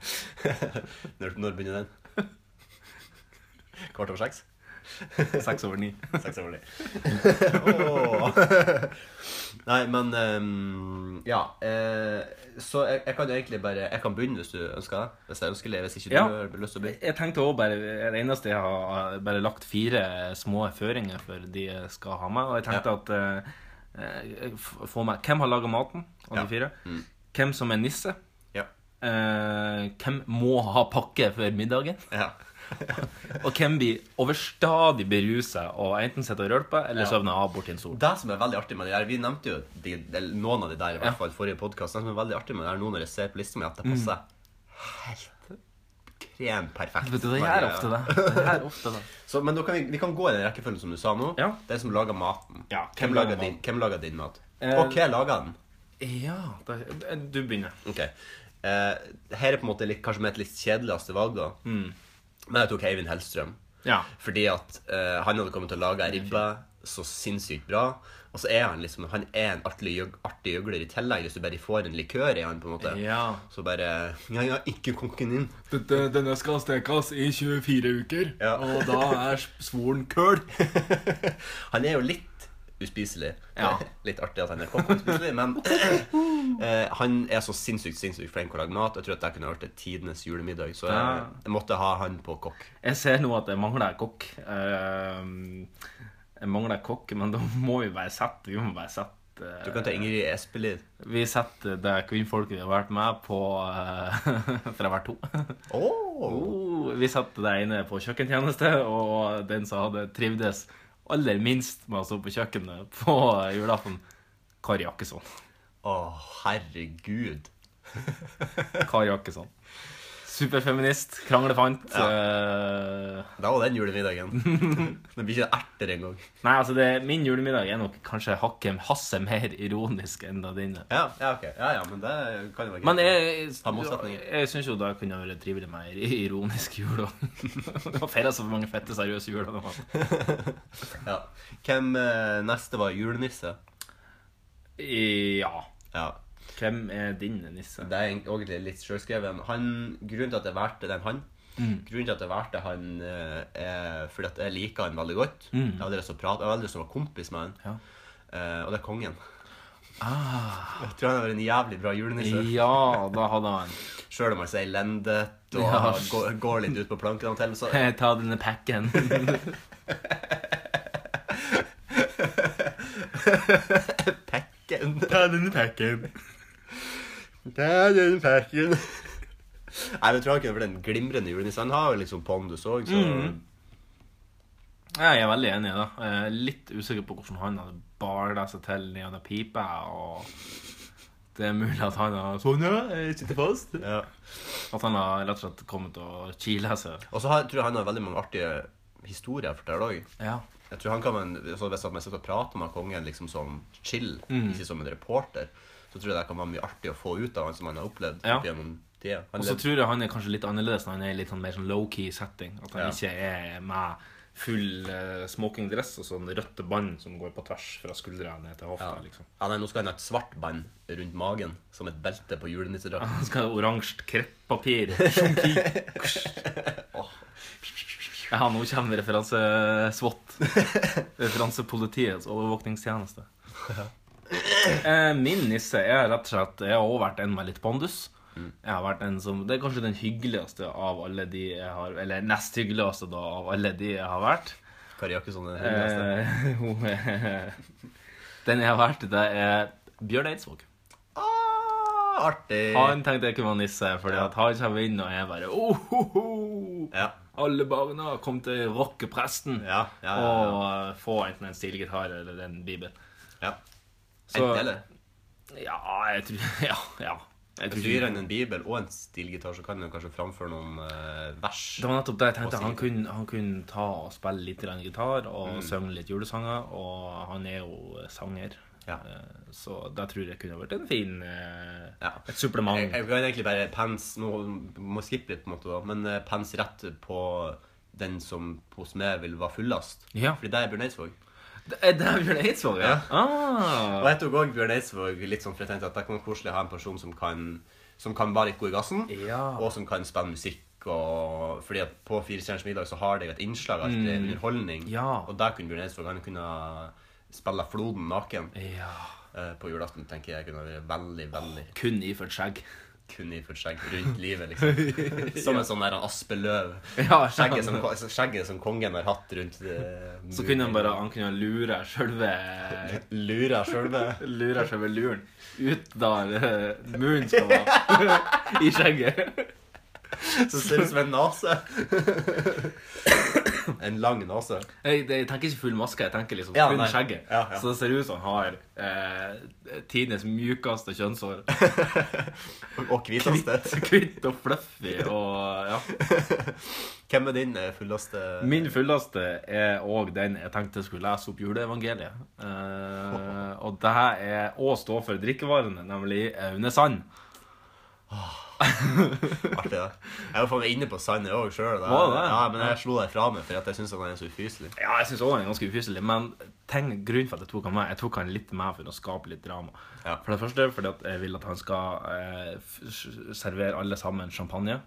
C: Når, når begynner den? Kvart over seks?
J: Seks over ni.
C: Seks over ni. Åh. Nei, men ehm, Ja. eh, så jeg, jeg kan jo egentlig bare Jeg kan begynne hvis du ønsker det. Hvis jeg ønsker det, hvis ikke du
J: Ja.
C: har lyst til å begynne.
J: Jeg tenkte også bare Det eneste jeg har bare lagt fire små føringer for de jeg skal ha med. Og jeg tenkte at eh, eh, f- få med Hvem har laga maten av
C: Ja.
J: de fire? Hvem som er nisse?
C: Ja.
J: Eh, hvem må ha pakke før middagen?
C: ja.
J: Og hvem blir overstadig berusa og enten sitter og rølper eller
C: Ja.
J: søvner av borti en stol.
C: Det som er veldig artig med det der, Vi nevnte jo de, del- noen av de der i
J: Ja. Mm.
C: hvert fall forrige podkast. Det som er veldig artig med det der nå når jeg ser på lista mi, at det passer helt krem perfekt.
J: Vet du, det
C: Bare-
J: gjør ofte det. Det gjør ofte det.
C: Så, men da kan vi, vi kan gå i den rekkefølgen som du sa nå.
J: Ja.
C: Den som lager maten.
J: Ja,
C: hvem,
J: hvem
C: lager
J: lager
C: din, hvem lager din mat?
J: Eh,
C: og hva lager den?
J: Ja, da, du begynner.
C: Ok. Eh, her er på en måte litt, kanskje mitt litt kjedeligste valg, da. Men jeg tok Eivind Hellstrøm.
J: Mm. Ja.
C: Fordi at eh, han hadde kommet til å lage ei ribbe så sinnssykt bra. Og så er han liksom Han er en artig, jøg- artig gjøgler i tillegg. Hvis du bare får en likør i han, på en måte,
J: Ja.
C: så bare Ja, ja, ikke kokken din.
K: Denne skal stekes i 24 uker,
C: Ja.
K: og da er svoren køl.
C: Han er jo litt uspiselig.
J: Ja.
C: litt artig at han er kokk og uspiselig, men eh, han er så sinnssykt sinnssykt flink til å lage mat. Jeg tror at det kunne vært tidenes julemiddag, så jeg,
J: Ja.
C: jeg måtte ha han på kokk.
J: Jeg ser nå at jeg mangler kokk. Eh, Jeg mangler kokk, men da må vi bare sette Vi må bare sette eh,
C: Du kan ta Ingrid Espelid.
J: Vi setter det kvinnfolket vi har vært med på eh, fra hver to.
C: Oh.
J: Oh, Vi setter det ene på kjøkkentjeneste, og den som hadde trivdes aller minst med å stå på kjøkkenet på julaften, Kari Jakkesson.
C: herregud.
J: Kari Jakkesson. Superfeminist, kranglefant. eh,
C: Det var den julemiddagen. det blir ikke erter engang.
J: nei, altså, det, min julemiddag er nok kanskje hakket hasset mer ironisk enn det dine.
C: Ja, ja, ok. Ja, ja, men det kan jo være greit.
J: Men jeg,
C: Ta motsetninger.
J: jeg syns jo det kunne vært trivelig med ei ironisk jul. og- Det var feira så mange fette seriøse juler. det var.
C: ja. Hvem eh, neste var julenisse?
J: Ja.
C: Ja.
J: Hvem er din nisse?
C: Det er egentlig litt sjølskreven. Han, grunnen til at jeg valgte den han
J: Mm.
C: Grunnen til at jeg valgte han, eh, er fordi at jeg liker han veldig godt. Jeg hadde lyst til å prate, jeg hadde lyst til å være kompis med han.
J: Mm. Ja. Ah.
C: Eh, og det er kongen. Jeg tror han har vært en jævlig bra julenisse.
J: Ja, da hadde han
C: Sjøl om han sier lendet og
J: Ja.
C: går, går litt ut på planken av og til, så
J: Ta denne pakken.
C: Pekken.
J: Ta denne pakken.
C: Det er den pakken. Nei, men jeg tror han kunne vært en glimrende julenisse. Han har jo liksom pondus òg, så
J: Mm. Ja, jeg er veldig enig i det. Jeg er litt usikker på hvordan han hadde bala seg til ned under pipa og Det er mulig at han har Sonja, jeg sitter fast.
C: Ja.
J: At han har rett og slett kommet og kila seg.
C: Og så har- tror jeg han har veldig mange artige historier å fortelle òg.
J: Ja.
C: Jeg tror han kan man, så Hvis at man sitter og prater med kongen liksom som chill,
J: Mm.
C: ikke som en reporter, så tror jeg det kan være mye artig å få ut av han som han har opplevd
J: Ja.
C: opp gjennom det. Han
J: Og så
C: levde-
J: tror jeg han er kanskje litt annerledes når han er i litt sånn mer sånn low-key setting. At han
C: Ja.
J: ikke er med full eh, smokingdress og sånn rødte bånd som går på tvers fra skuldra ned til hofta. liksom.
C: ja, nei, nå skal han ha et svart bånd rundt magen, som et belte på julenissedrakt.
J: Han skal ha sånn oransje kreppapir. Sjunki. Ja, nå kommer referanse-SWAT. Referansepolitiets overvåkningstjeneste. Eh, Min nisse er rett og slett Jeg har også vært en med litt pondus. Jeg har vært en som, Det er kanskje den hyggeligste av alle de jeg har Eller nest hyggeligste da, av alle de jeg har vært.
C: Kari Jakkesson er den hyggeligste.
J: Eh, hun er- den jeg har vært, det er Bjørn Eidsvåg.
C: Ah, artig!
J: Han tenkte jeg kunne være nisse, fordi at han kommer inn og er bare oh, ho, ho.
C: Ja.
J: Alle barna kom til rockepresten
C: Ja, ja, ja, ja.
J: og eh, få enten en stilgitar eller en bibel.
C: Ja.
J: Så-
C: Enten eller.
J: Ja, jeg tror Ja. ja. Jeg
C: Hvis
J: tror
C: du gir
J: ikke-
C: han en bibel og en stilgitar, så kan han kanskje framføre noen eh, vers.
J: Det var nettopp det
C: Og
J: jeg
C: Mm.
J: tenkte. Han
C: stilgitar.
J: kunne, han kunne ta og spille litt grann gitar og synge litt julesanger, og han er jo sanger.
C: Ja.
J: Eh, Så det tror jeg kunne vært en fin eh,
C: Ja.
J: Et supplement.
C: Jeg, jeg kan egentlig bare pens Nå må jeg skippe litt, på en måte, da. Men eh, pens rett på den som hos meg vil være fullest.
J: Ja.
C: Fordi det er Bjørn Eidsvåg.
J: Det er det er Bjørn Eidsvåg, ja?
C: Ja. Og
J: Ah.
C: jeg tok òg Bjørn Eidsvåg litt sånn for jeg tenkte at det kan være koselig å ha en person som kan, som kan være litt god i gassen,
J: Ja.
C: og som kan spille musikk. Og, fordi at på Fire stjerners middag så har det jo et innslag av mm. underholdning.
J: Ja.
C: Og der kunne Bjørn Eidsvåg han kunne spille Floden naken
J: ja.
C: eh, på julaften. tenker jeg kunne vært veldig, veldig
J: Kun iført skjegg.
C: kun iført skjegg rundt livet, liksom. Som en sånn der aspeløv.
J: Ja,
C: Skjegget som, skjegget som kongen har hatt rundt eh,
J: Så kunne han bare han kunne lure sjølve
C: Lure sjølve.
J: Lure sjølve luren ut der eh, munnen skal være. I skjegget. sånn
C: Så ser ut som en nase. En lang nase.
J: Jeg, jeg tenker ikke full maske, jeg tenker liksom
C: Ja,
J: kun
C: nei.
J: skjegget.
C: Ja, ja.
J: Så det ser ut som han har eh, tidenes mjukeste kjønnshår.
C: Og hviteste.
J: Hvitt og fluffy og ja.
C: Hvem er din eh, fulleste
J: Min fulleste er òg den jeg tenkte jeg skulle lese opp juleevangeliet. Eh, og det her er å stå for drikkevarene, nemlig Aune Sand.
C: artig? da? Jeg var faen meg inne på sand, jeg òg sjøl.
J: Var det det?
C: Ja, men jeg slo deg fra meg, for at jeg syns han er så ufyselig.
J: Ja, jeg syns òg den er ganske ufyselig, men tenk, grunnen for at jeg tok han med, jeg tok han litt med for å skape litt drama.
C: Ja.
J: For det første fordi at jeg vil at han skal eh, f- s- servere alle sammen champagne.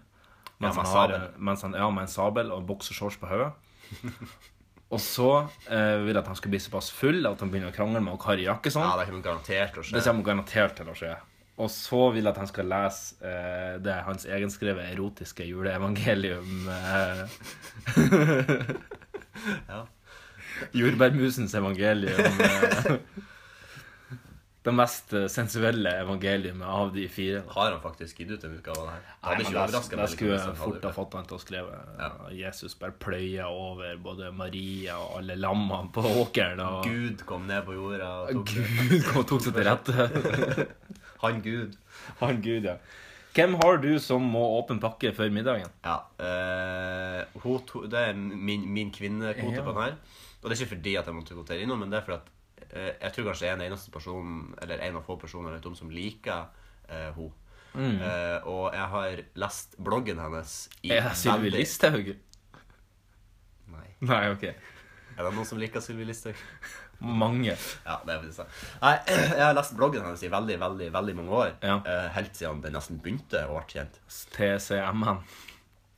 C: Ja, med
J: Mens han har,
C: sabel.
J: mens han, ja, med en sabel og en boksershorts på hodet. og så eh, vil jeg at han skal bli såpass full at han begynner å krangle med Kari Jakkesson.
C: Ja, det kommer garantert til å
J: Det
C: skje.
J: kommer garantert til å skje. Og så vil jeg at han skal lese eh, det hans egenskrevne erotiske juleevangelium eh,
C: Ja.
J: Jordbærmusens evangelium. Eh, det mest eh, sensuelle evangeliumet av de fire. da.
C: Har han faktisk gitt ut en utgave av det her? Det
J: Nei,
C: hadde
J: men
C: ikke overraska
J: det, det
C: meg. liksom,
J: skulle
C: hvis han
J: jeg fort
C: hadde
J: ha
C: gjort
J: fått han til å skrive. eh, Jesus bare pløyer over både Maria og alle lammene på åkeren.
C: det.
J: Og
C: Gud kom ned på jorda og tok det.
J: Gud kom og tok seg til rette.
C: Han Gud.
J: Han Gud, ja. Hvem har du som må åpen pakke før middagen?
C: Ja. eh, hun to, det er min, min kvinnekvote
J: Ja.
C: på den her. Og det er ikke fordi at jeg måtte kvotere innom, men det er fordi at eh, jeg tror kanskje jeg er den eneste personen, eller en av få personer jeg vet om, som liker uh, hun. Eh, og jeg har lest bloggen hennes i
J: Mm. Er det Sylvi
C: veldig-
J: Listhaug?
C: Nei.
J: Nei, OK.
C: Er det noen som liker Sylvi Listhaug?
J: Mange.
C: Ja, det er faktisk det. Nei, jeg har lest bloggen hennes i veldig, veldig veldig mange år.
J: Ja.
C: Eh, helt siden den nesten begynte å bli kjent.
J: TCMN.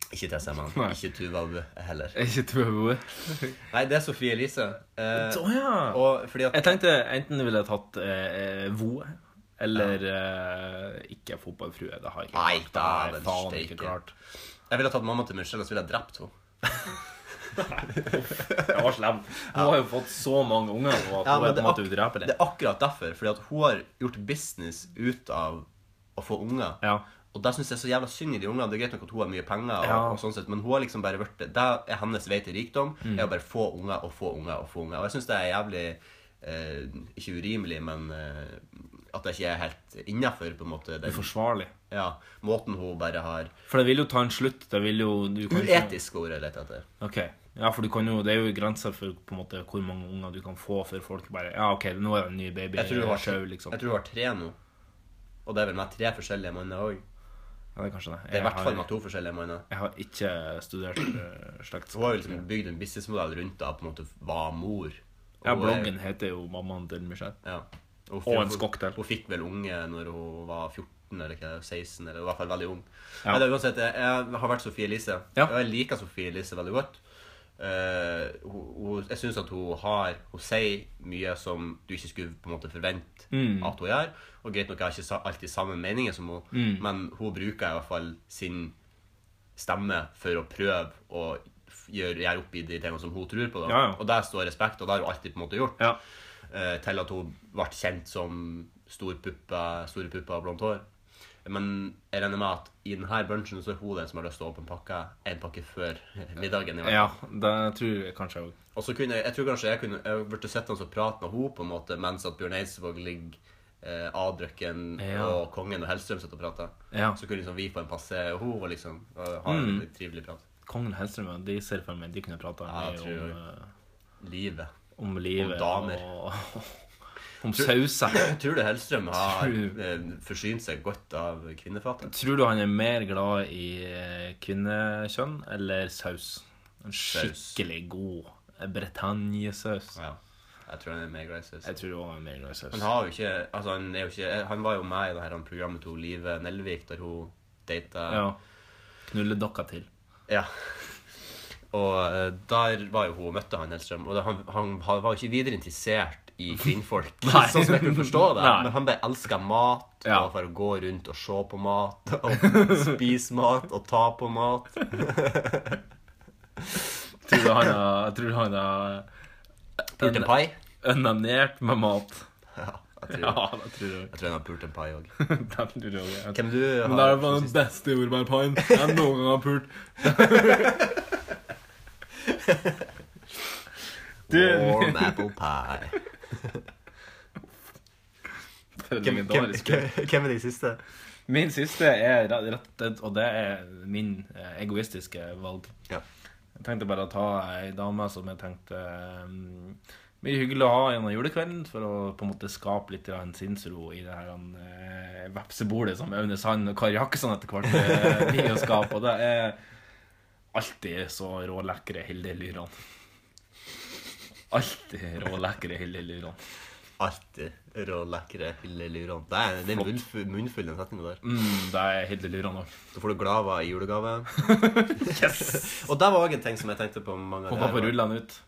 C: Ikke TCM,
J: Nei.
C: ikke Tuvalbu heller.
J: Er Ikke Tvøbo.
C: Nei, det er Sofie Elise. Eh,
J: Å Sånn, ja.
C: og fordi at
J: Jeg tenkte enten ville jeg tatt eh, Voe. Eller eh, ikke fotballfrue. Det har jeg ikke.
C: Nei,
J: klart.
C: da, den
J: Det har jeg faen
C: steike.
J: ikke klart.
C: Jeg ville tatt mamma til Michelle, og så ville jeg drept henne.
J: Jeg var slem. Hun har jo fått så mange unger nå at hun er på en måte udrepelig.
C: det er akkurat derfor. Fordi at hun har gjort business ut av å få unger.
J: Ja.
C: Og det syns jeg er så jævla synd i de ungene. Det er greit nok at hun har mye penger, og,
J: Ja.
C: og sånn sett, men hun har liksom bare vært, det er hennes vei til rikdom.
J: Mm.
C: er å bare få unger og få unger og få unger. Og jeg syns det er jævlig eh, Ikke urimelig, men eh, at det ikke er helt innafor, på en måte. den-
J: Uforsvarlig.
C: Ja. Måten hun bare har
J: For det vil jo ta en slutt. Det vil jo du kan ikke-
C: Uetisk ord jeg leter etter.
J: Ok. Ja, for du kan jo, det er jo grenser for på en måte, hvor mange unger du kan få før folk bare Ja, OK, nå er det en ny baby.
C: Jeg tror hun har,
J: sjau, liksom.
C: jeg tror hun har tre nå. Og det er vel med tre forskjellige manner òg.
J: Ja, det er kanskje det.
C: Det er i
J: Jeg
C: hvert fall
J: har-
C: med to forskjellige manner.
J: Jeg har ikke studert uh, slekt.
C: Hun har jo liksom bygd en businessmodell rundt da, på en måte var mor. eh,
J: Ja, bloggen heter jo 'Mammaen til Michelle'.
C: Ja. Hun,
J: Og en
C: cocktail. Hun fikk vel unge når hun var 14 eller hva, 16, eller i hvert fall veldig ung.
J: Ja.
C: Nei, det er uansett, jeg, jeg har vært Sofie Elise. Og jeg liker Sofie Elise veldig godt. Eh, hun, hun, jeg syns at hun har Hun sier mye som du ikke skulle på en måte forvente
J: Mm.
C: at hun gjør. Og greit nok, jeg har ikke sa- alltid samme meninger som hun,
J: Mm.
C: men hun bruker i hvert fall sin stemme for å prøve å f- gjøre, gjøre opp i de tingene som hun tror på. Da.
J: Ja, ja.
C: Og det står respekt, og det har hun alltid på en måte gjort. Eh, til at hun ble kjent som stor puppe, store pupper og blondt hår. Men jeg regner med at i denne bunchen så er hun den som har lyst til å åpne pakka en pakke før middagen. i hvert fall.
J: Ja, det tror jeg kanskje jeg òg.
C: Og så kunne jeg, jeg tror kanskje jeg kunne Jeg burde sett han og prate med henne på en måte mens at Bjørn Eidsvåg ligger eh, avdrøkken
J: Ja.
C: og kongen og Hellstrøm sitter og prater.
J: Ja.
C: Så kunne liksom vi få en passe og hun var liksom og ha en
J: Mm.
C: litt trivelig prat.
J: Kongen og Hellstrøm, ja, de ser for meg de kunne prata
C: Ja, jeg tror
J: om, eh,
C: Livet.
J: om livet
C: Om damer.
J: og om sauser.
C: Tror du Hellstrøm har
J: Tror-
C: eh, forsynt seg godt av kvinnefatet?
J: Tror du han er mer glad i eh, kvinnekjønn eller saus? En skikkelig god eh, Bretagne-saus.
C: Ja. Jeg tror han er mer glad i saus.
J: Jeg tror også han er mer glad i saus.
C: Han har jo ikke Altså, han er jo ikke Han var jo med i det her programmet til Live Nelvik, der hun data
J: Ja. Knulledokka til.
C: Ja. Og eh, der var jo hun og møtte han Hellstrøm, og da- han, han, han var jo ikke videre interessert i kvinnfolk.
J: Nei.
C: sånn som jeg kunne forstå det.
J: Nei.
C: Men han bare elska mat, og for å gå rundt og se på mat, og spise mat, og ta på mat.
J: Tror du han har, jeg tror han har
C: Pult en pai?
J: Onanert med mat.
C: Ja, jeg tror,
J: Ja, det tror jeg.
C: jeg tror han har pult en pai òg.
J: Hvem
C: Hvem du
L: Men det
C: har
L: er bare den beste jordbærpaien jeg noen gang har pult.
C: Warm apple pie. Hvem, hvem, hvem er de siste?
J: Min siste er rett rett- rett- Og det er min eh, egoistiske valg. Jeg tenkte bare å ta ei dame som jeg tenkte um, Mye hyggelig å ha gjennom julekvelden for å på en måte skape litt grann sinnsro i det her eh, vepsebordet som Aune Sand og Kari Jakkesson etter hvert eh, blir å skape. Og det er alltid så rålekre Hilde Lyran. Alltid rålekre Hilde Lyran.
C: Alltid rålekre hillelurene. Det er det er munnfull, munnfull den setninga der.
J: Mm, det er Hilde Lyran òg.
C: Så får du Glava i julegave. og det var òg en ting som jeg tenkte på mange
J: Håper på ruller han ut.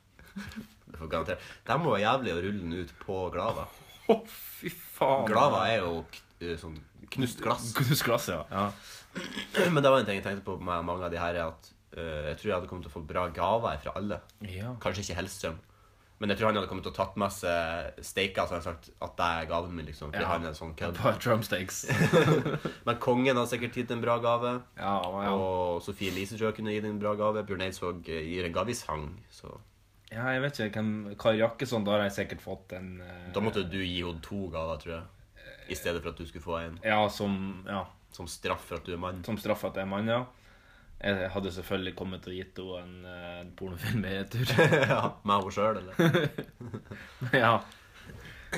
C: Du får garantert. De var jævlig å rulle den ut på Glava.
J: Å, fy faen.
C: Glava er jo k- eh, sånn knust glass.
J: Knust glass, ja.
C: Men det var en ting jeg tenkte på med mange av de her, er at eh, jeg tror jeg hadde kommet til å få bra gaver fra alle.
J: Ja.
C: Kanskje ikke Hellstrøm. Men jeg tror han hadde kommet til å tatt med seg steker, så hadde han sagt at det er gaven min, liksom. Fordi
J: Ja.
C: han er en sånn kødd.
J: Bare drumsticks.
C: Men kongen har sikkert gitt en bra gave.
J: Ja, ja.
C: Og Sofie Elisesjø kunne gitt en bra gave. Bjørn Eidsvåg eh, gir en gave i sang. Så
J: Ja, jeg vet ikke hvem Kari Jakkesson, da har jeg sikkert fått en eh,
C: da måtte du gi henne to gaver, tror jeg. I stedet for at du skulle få en
J: Ja, som Ja.
C: som straff for at du er mann.
J: Som straff at jeg er mann, ja. Jeg hadde selvfølgelig kommet og gitt henne en, eh, en pornofilm i retur.
C: ja, Meg og sjøl, eller?
J: ja.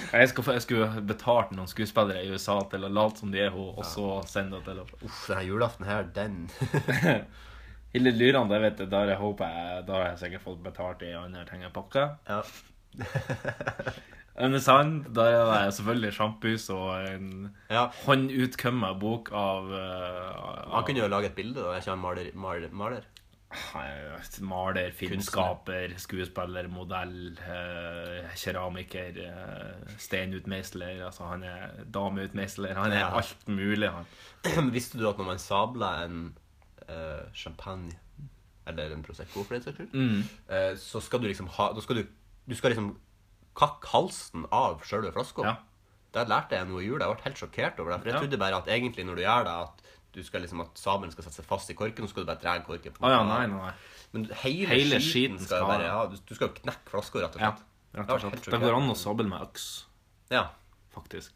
J: Jeg, skal, få- jeg skulle betalt noen skuespillere i USA til å late som de er hun, og så sende det til henne.
C: Uff, denne julaften her, den
J: Hilde Lyran, det vet jeg, der jeg håper jeg Da har jeg sikkert fått betalt i andre ting enn pakker.
C: Ja.
J: Under sand, der er det selvfølgelig sjampus og en
C: Ja.
J: håndutkømma bok av, eh,
C: Han kunne jo lage et bilde, da. Er ikke han maler? maler, maler?
J: Eh, Maler, filmskaper, skuespiller, modell, eh, keramiker, eh, steinutmeisler Altså, han er dameutmeisler. Han er
C: Ja.
J: alt mulig, han.
C: Visste du at når man sabler en eh, champagne, eller en Prosecco for den saks skyld,
J: Mm.
C: eh, så skal du liksom ha Da skal du Du skal liksom kakke halsen av sjølve flaska.
J: Ja.
C: Det lærte jeg nå i jula. Jeg ble helt sjokkert over det. For jeg
J: Ja.
C: trodde bare at egentlig når du gjør det, at du skal liksom at sabelen skal sette seg fast i korken, og så skal du bare dra korken. på
J: Å ja,
C: måten.
J: nei, nei, nei.
C: Men hele,
J: Hele
C: skiten
J: skiten
C: skal jo
J: skal-
C: bare ja, Du du skal jo knekke flaska, rett og
J: Ja,
C: slett.
J: rett og slett. Det går an å sable med øks,
C: Ja.
J: faktisk.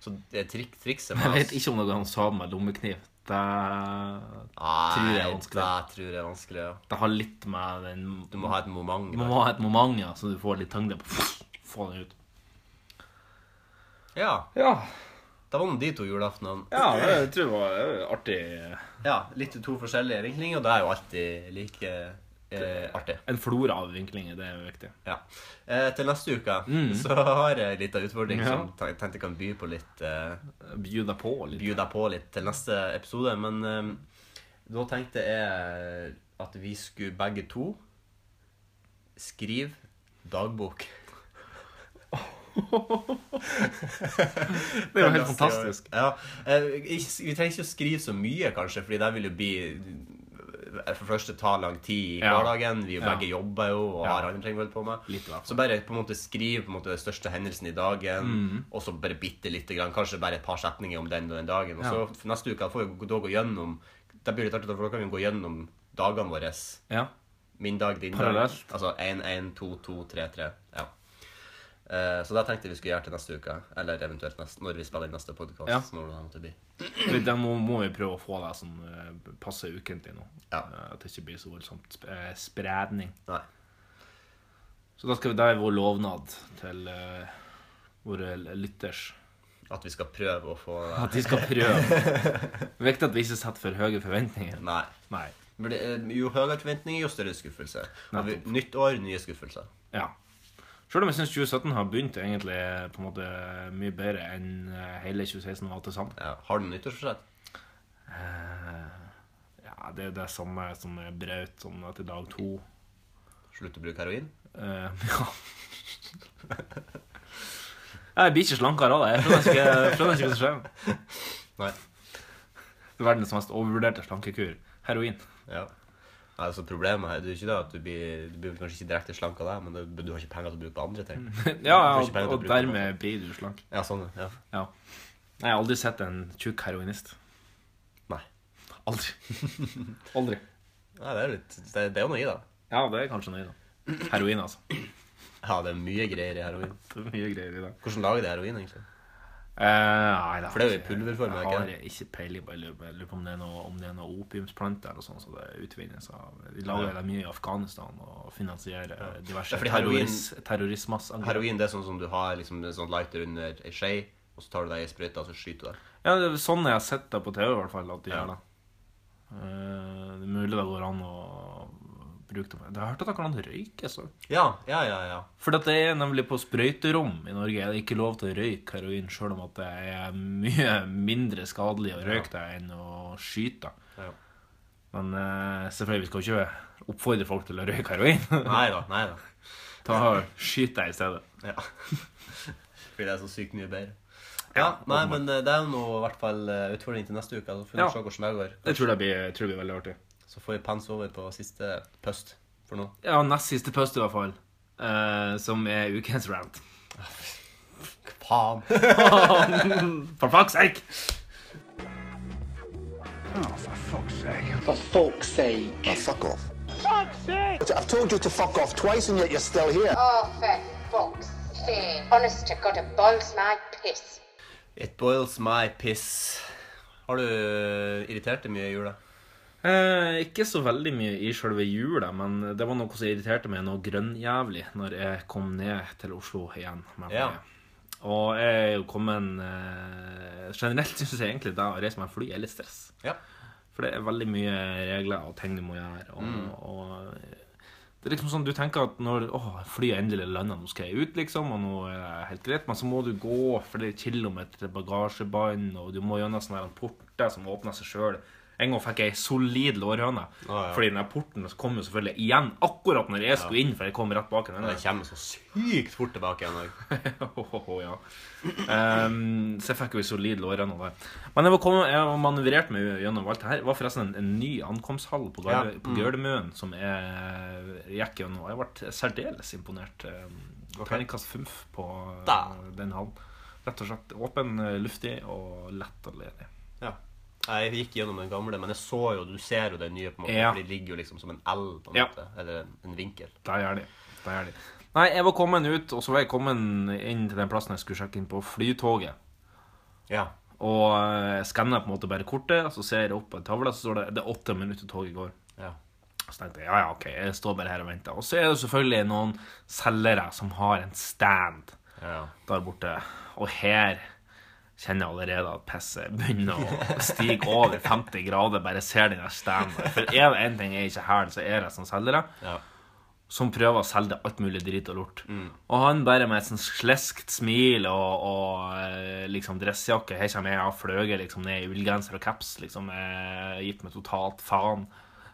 C: Så det trik, trikset
J: Jeg vet ikke om det går an å sove med lommekniv. Det tror jeg er vanskelig.
C: Det tror jeg er vanskelig, ja.
J: Det har litt med den
C: Du må ha et moment.
J: Du må ha et moment, ja, så du får litt tyngde på Få den ut.
C: Ja.
J: ja.
C: Da var nå de to julaftenene.
J: Ja, det jeg tror jeg var det var artig.
C: Ja, litt to forskjellige vinklinger, og det er jo alltid like eh, artig.
J: En flora av vinklinger, det er jo viktig.
C: Ja. Eh, til neste uke
J: Mm.
C: så har jeg en liten utfordring
J: Ja.
C: som jeg tenkte kan by på litt eh,
J: By deg på litt.
C: By deg på litt til neste episode. Men eh, da tenkte jeg at vi skulle begge to skrive dagbok.
J: Det er jo helt fantastisk.
C: Ja, eh, ikke- Vi trenger ikke å skrive så mye, kanskje, Fordi det vil jo bli eh, For det første ta lang tid i
J: Ja.
C: hverdagen. Vi jo
J: Ja.
C: begge jobber jo og
J: Ja.
C: har andre ting vi holder på med.
J: Litt i hvert
C: så
J: fall.
C: bare på en måte skriv på en måte den største hendelsen i dagen,
J: Mhm.
C: og så bare bitte lite grann. Kanskje bare et par setninger om den og den dagen. Og så
J: Ja.
C: for neste uke da får vi da gå gjennom Da blir det litt artig, for da kan vi gå gjennom dagene våre.
J: Ja.
C: Min dag, din
J: Parallelt.
C: dag. Altså 1, 1, 2, 2, 3, 3. Ja. Eh, så da tenkte jeg vi skulle gjøre til neste uke, eller eventuelt neste, når vi spiller inn neste podkast.
J: Ja.
C: Når det måtte bli.
J: Men Da må, må vi prøve å få deg sånn eh, passe ukentlig nå.
C: Ja.
J: Eh, At det ikke blir så voldsomt sp eh, spredning.
C: Nei.
J: Så da skal vi, det er vår lovnad til eh, våre l- lytters.
C: At vi skal prøve å få
J: At de skal prøve. Det er Viktig at vi ikke setter for høye forventninger.
C: Nei.
J: Nei.
C: Men det, er- jo høyere forventninger, jo større skuffelse. Og vi, nytt år, nye skuffelser.
J: Ja. Selv om jeg syns 2017 har begynt egentlig eh, på en måte mye bedre enn eh, hele 2016 var til sammen.
C: Ja. Har du nyttårsforsett?
J: Eh, Ja, det er det samme som jeg brøt sånn etter dag to.
C: Slutt å bruke heroin?
J: Eh, ja. Jeg blir ikke slankere av det. Jeg skjønner ikke, jeg skjønner ikke hva som skjer.
C: Nei.
J: Det er verdens mest overvurderte slankekur. Heroin.
C: Ja. Nei, altså Problemet her, det er jo ikke det at du blir, du blir kanskje ikke direkte slank av deg, men det, du har ikke penger til å bruke på andre ting. Du
J: Ja,
C: har ikke penger
J: og,
C: til å bruke
J: og
C: på-
J: dermed blir du slank.
C: Ja, sånn, ja.
J: Ja. Nei, jeg har aldri sett en tjukk heroinist.
C: Nei.
J: Aldri. Aldri.
C: Nei, det er, jo litt, det, det er jo noe i det.
J: Ja, det er kanskje nøye, da. Heroin, altså.
C: Ja, det er mye greier i heroin.
J: Det er mye greier i det.
C: Hvordan lager de heroin, egentlig?
J: Eh, nei, det
C: For det er jo i
J: ikke-
C: pulverform, er det ikke
J: Jeg har
C: det?
J: ikke peiling på jeg lurer på- jeg lurer på om det er noe, om det er noe opiumsplante eller sånn, så det utvinnes av De lager det mye i Afghanistan og finansierer eh, diverse
C: Ja, fordi heroin-
J: terroris, terrorismassangrep.
C: Heroin det er sånn som du har liksom, en sånn lighter under ei skje, og så tar du deg ei sprøyte, og så skyter du deg.
J: Ja, det er sånn jeg har sett det på TV, i hvert fall, at de
C: Ja.
J: gjør det. Eh, det er mulig det går an å bruke det på Jeg har hørt at det går an å røyke. Så.
C: Ja, ja, ja. ja.
J: For det er nemlig på sprøyterom i Norge er det ikke lov til å røyke heroin, sjøl om at det er mye mindre skadelig å røyke det enn å skyte det.
C: ja.
J: Men eh, selvfølgelig skal vi ikke oppfordre folk til å røyke heroin.
C: Nei da. Nei da.
J: Ta Skyt deg i stedet.
C: Ja. Fordi det er så sykt mye bedre. Ja, nei,
J: åpenbart.
C: men eh, det er jo nå i hvert fall eh, utfordring til neste uke. Så får vi
J: Ja.
C: se hvordan det går.
J: Jeg tror det blir, jeg tror det blir veldig artig.
C: Så får vi pens over på siste pøst for nå.
J: Ja, nest siste pøst i hvert fall, eh, som er ukens rant.
C: Faen!
J: For fuck's sake!
M: For fuck's sake. Now fuck off.
N: Fuck's sake!
M: I've told you to fuck off twice and yet you're still here.
O: Oh, for fuck's sake. Honest to God, it boils my piss.
C: It boils my piss. Har du irritert deg mye i jula?
J: Eh, ikke så veldig mye i selve jula, men det var noe som irriterte meg noe grønnjævlig når jeg kom ned til Oslo igjen. med
C: Ja.
J: flyet. Og jeg er jo kommet eh, Generelt syns jeg egentlig det å reise med fly er litt stress.
C: Ja.
J: For det er veldig mye regler og ting du må gjøre. Og,
C: Mm.
J: og det er liksom sånn, Du tenker at når åh, flyet endelig lander, nå skal jeg ut, liksom, og nå er det helt greit. Men så må du gå flere kilometer til bagasjebånd, og du må gjennom sånne her porter som åpner seg sjøl. En gang fikk jeg ei solid lårhøne.
C: ja.
J: Fordi den her porten kom jo selvfølgelig igjen akkurat når jeg skulle
C: Ja.
J: inn, for jeg kom rett bak den.
C: Men det kommer så sykt fort tilbake igjen òg.
J: Åhåhå, ja. Ehm, så jeg fikk jo en solid lårrenn av det. Men jeg var, kommet, jeg var manøvrert meg gjennom alt det her. Det var forresten en, en ny ankomsthall på, Garde,
C: Ja,
J: på
C: mm.
J: Gardermoen som jeg gikk gjennom. Og jeg ble særdeles imponert. Ehm, Terningkast fumf på eh,
C: Da.
J: den hallen. Rett og slett åpen, eh, luftig og lett og ledig.
C: Ja. Jeg gikk gjennom den gamle, men jeg så jo, du ser jo den nye, på en måte,
J: Ja.
C: for de ligger jo liksom som en L, på en
J: Ja.
C: måte, eller en- en vinkel.
J: Der er de. Der er de. Nei, jeg var kommet ut, og så var jeg kommet inn til den plassen jeg skulle sjekke inn på flytoget.
C: Ja.
J: Og eh, skanner på en måte bare kortet, så ser jeg opp på en tavle, så står det det er åtte minutter toget går.
C: Ja.
J: Så tenkte jeg ja, ja, ok, jeg står bare her og venter. Og så er det selvfølgelig noen selgere som har en stand der borte. Og her kjenner jeg allerede at pisset begynner å stige over 50 grader. Bare ser den der standen. For er det én ting jeg ikke har, så er det som selgere. Som prøver å selge alt mulig drit og lort. Og han bare med et sånn sleskt smil og, og eh, liksom dressjakke Her kommer jeg og fløyer liksom ned i ullgenser og caps, liksom eh, gitt meg totalt faen.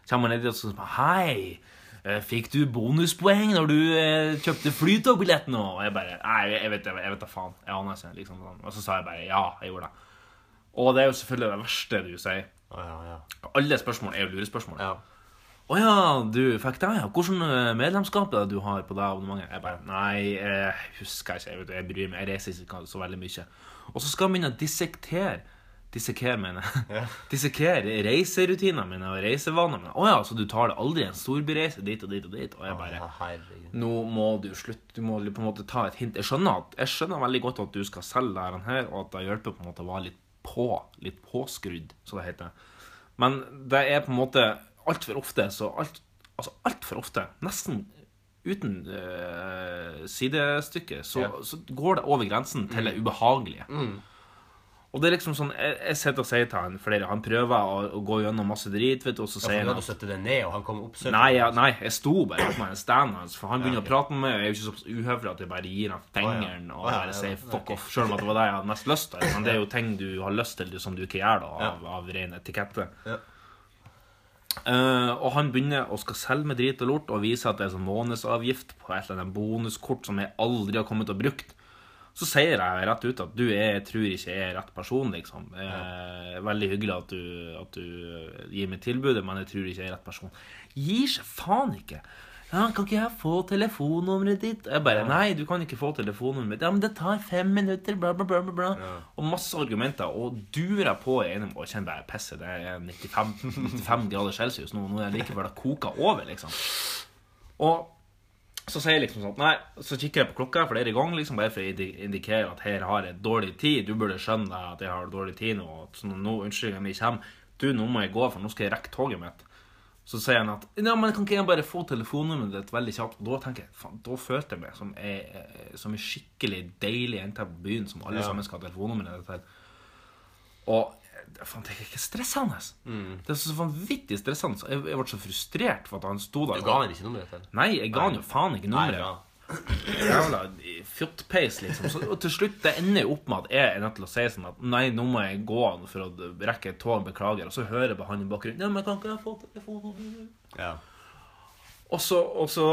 J: Kommer ned dit og sånn Hei! eh, Fikk du bonuspoeng når du eh, kjøpte flytogbillett nå? Og jeg bare Nei, jeg vet det, jeg vet da faen. Jeg aner ikke. Liksom sånn. Og så sa jeg bare ja, jeg gjorde det. Og det er jo selvfølgelig det verste du sier. Alle spørsmål er jo lurespørsmål. Å ja, du fikk det, ja. Hvordan eh, medlemskap er det du har på det abonnementet? Jeg bare Nei, jeg husker ikke. Jeg, vet, jeg bryr meg. Jeg reiser ikke så veldig mye. Og så skal han begynne å dissektere Dissekere, mener jeg. Dissekere reiserutinene mine og reisevanene mine. Å ja, så du tar det aldri en storbyreise dit og dit og dit? Og jeg bare Nå må du slutte. Du må på en måte ta et hint. Jeg skjønner, at, jeg skjønner veldig godt at du skal selge dette her, og at det hjelper på en måte å være litt på. Litt påskrudd, som det heter. Men det er på en måte altfor ofte så alt, Altså altfor ofte, nesten uten eh, sidestykke, så,
C: Ja. Mm.
J: så går det over grensen til det ubehagelige. Og det er liksom sånn, jeg, jeg sitter og sier til han flere, han prøver å, å gå gjennom masse drit, vet du, og så
C: Ja, for du
J: sier han
C: hadde
J: at-
C: satt det ned, og han altså. kom opp
J: Nei, ja, nei, jeg sto bare opp med en stand hans, for han begynner å prate med meg, og jeg er jo ikke så uhøflig at jeg bare gir han fingeren
C: Å,
J: og
C: ja,
J: bare
C: ja,
J: sier
C: ja,
J: fuck
C: ok.
J: off, selv om at det var det jeg hadde mest lyst til, men det er jo ting du har lyst til som du ikke gjør da, av, av ren etikette. Eh, og han begynner å skal selge med drit og lort og vise at det er sånn månedsavgift på et eller annet bonuskort som jeg aldri har kommet til å bruke. Så sier jeg rett ut at du er, jeg tror ikke jeg er rett person, liksom. Eh, Veldig hyggelig at du, at du gir meg tilbudet, men jeg tror ikke jeg er rett person. Gir seg faen ikke! Ja, kan ikke jeg få telefonnummeret ditt? Jeg bare Nei, du kan ikke få telefonnummeret mitt. Ja, men det tar fem minutter, bla, bla, bla, bla. bla. Og masse argumenter. Og durer på i ene og kjenner bare pisset. Det er 95, 95 grader celsius nå. Nå er det like før det koker over, liksom. Og så sier jeg liksom sånn Nei, så kikker jeg på klokka flere ganger liksom bare for å indi- indikere at her har jeg dårlig tid. Du burde skjønne deg at jeg har dårlig tid nå. og at Sånn, nå unnskyld om jeg kommer. Du, nå må jeg gå, for nå skal jeg rekke toget mitt. Så sier han at ja, men kan ikke jeg bare få telefonnummeret ditt veldig kjapt? Og da tenker jeg, faen, da følte jeg meg som ei, eh, som ei skikkelig deilig jente på byen som alle
C: Ja.
J: sammen skal ha telefonnummeret ditt til. Og eh, faen, det er ikke stressende.
C: Mm.
J: Det er så vanvittig stressende. så Jeg, jeg ble så frustrert for at han sto der.
C: Du ga han ikke nummeret til?
J: Nei, jeg ga han jo faen ikke
C: Nei,
J: nummeret. Jævla fjottpeis, liksom. Så, og til slutt det ender jo opp med at jeg er nødt til å si sånn at nei, nå må jeg gå an for å rekke et tog, beklager. Og så hører jeg på han i bakgrunnen. Ja, men kan ikke jeg få telefonen?
C: Ja.
J: Og så, og så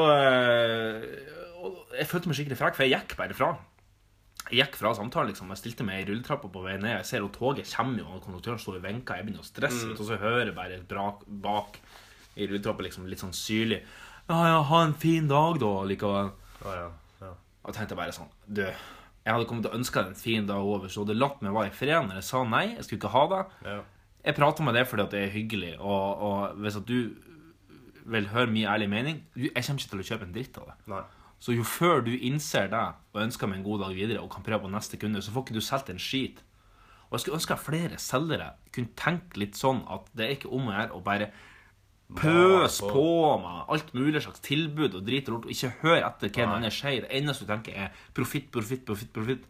J: eh, og Jeg følte meg skikkelig frekk, for jeg gikk bare fra. Jeg gikk fra samtalen, liksom. Jeg stilte meg i rulletrappa på vei ned. Jeg ser jo toget kommer, jo, og konduktøren står og vinker. Jeg begynner å stresse,
C: Mm.
J: vet du, og så hører jeg bare et brak bak i rulletrappa, liksom litt sånn syrlig. Ja, ja, ha en fin dag, da, likevel. Og tenkte bare sånn Du, jeg hadde kommet til å ønske deg en fin dag over, så du latt meg være i fred når jeg sa nei. Jeg skulle ikke ha det. Jeg prater med deg fordi at det er hyggelig, og, og hvis at du vil høre min ærlige mening du- Jeg kommer ikke til å kjøpe en dritt av det. Så jo før du innser det og ønsker meg en god dag videre, og kan prøve på neste kunde, så får ikke du solgt en skit. Og jeg skulle ønske at flere selgere kunne tenke litt sånn at det er ikke om å gjøre å bare pøs
C: Bare på.
J: på meg alt mulig slags tilbud og drit og lort, og ikke hør etter hva den andre sier. Det eneste du tenker, er profitt, profitt, profitt. profitt.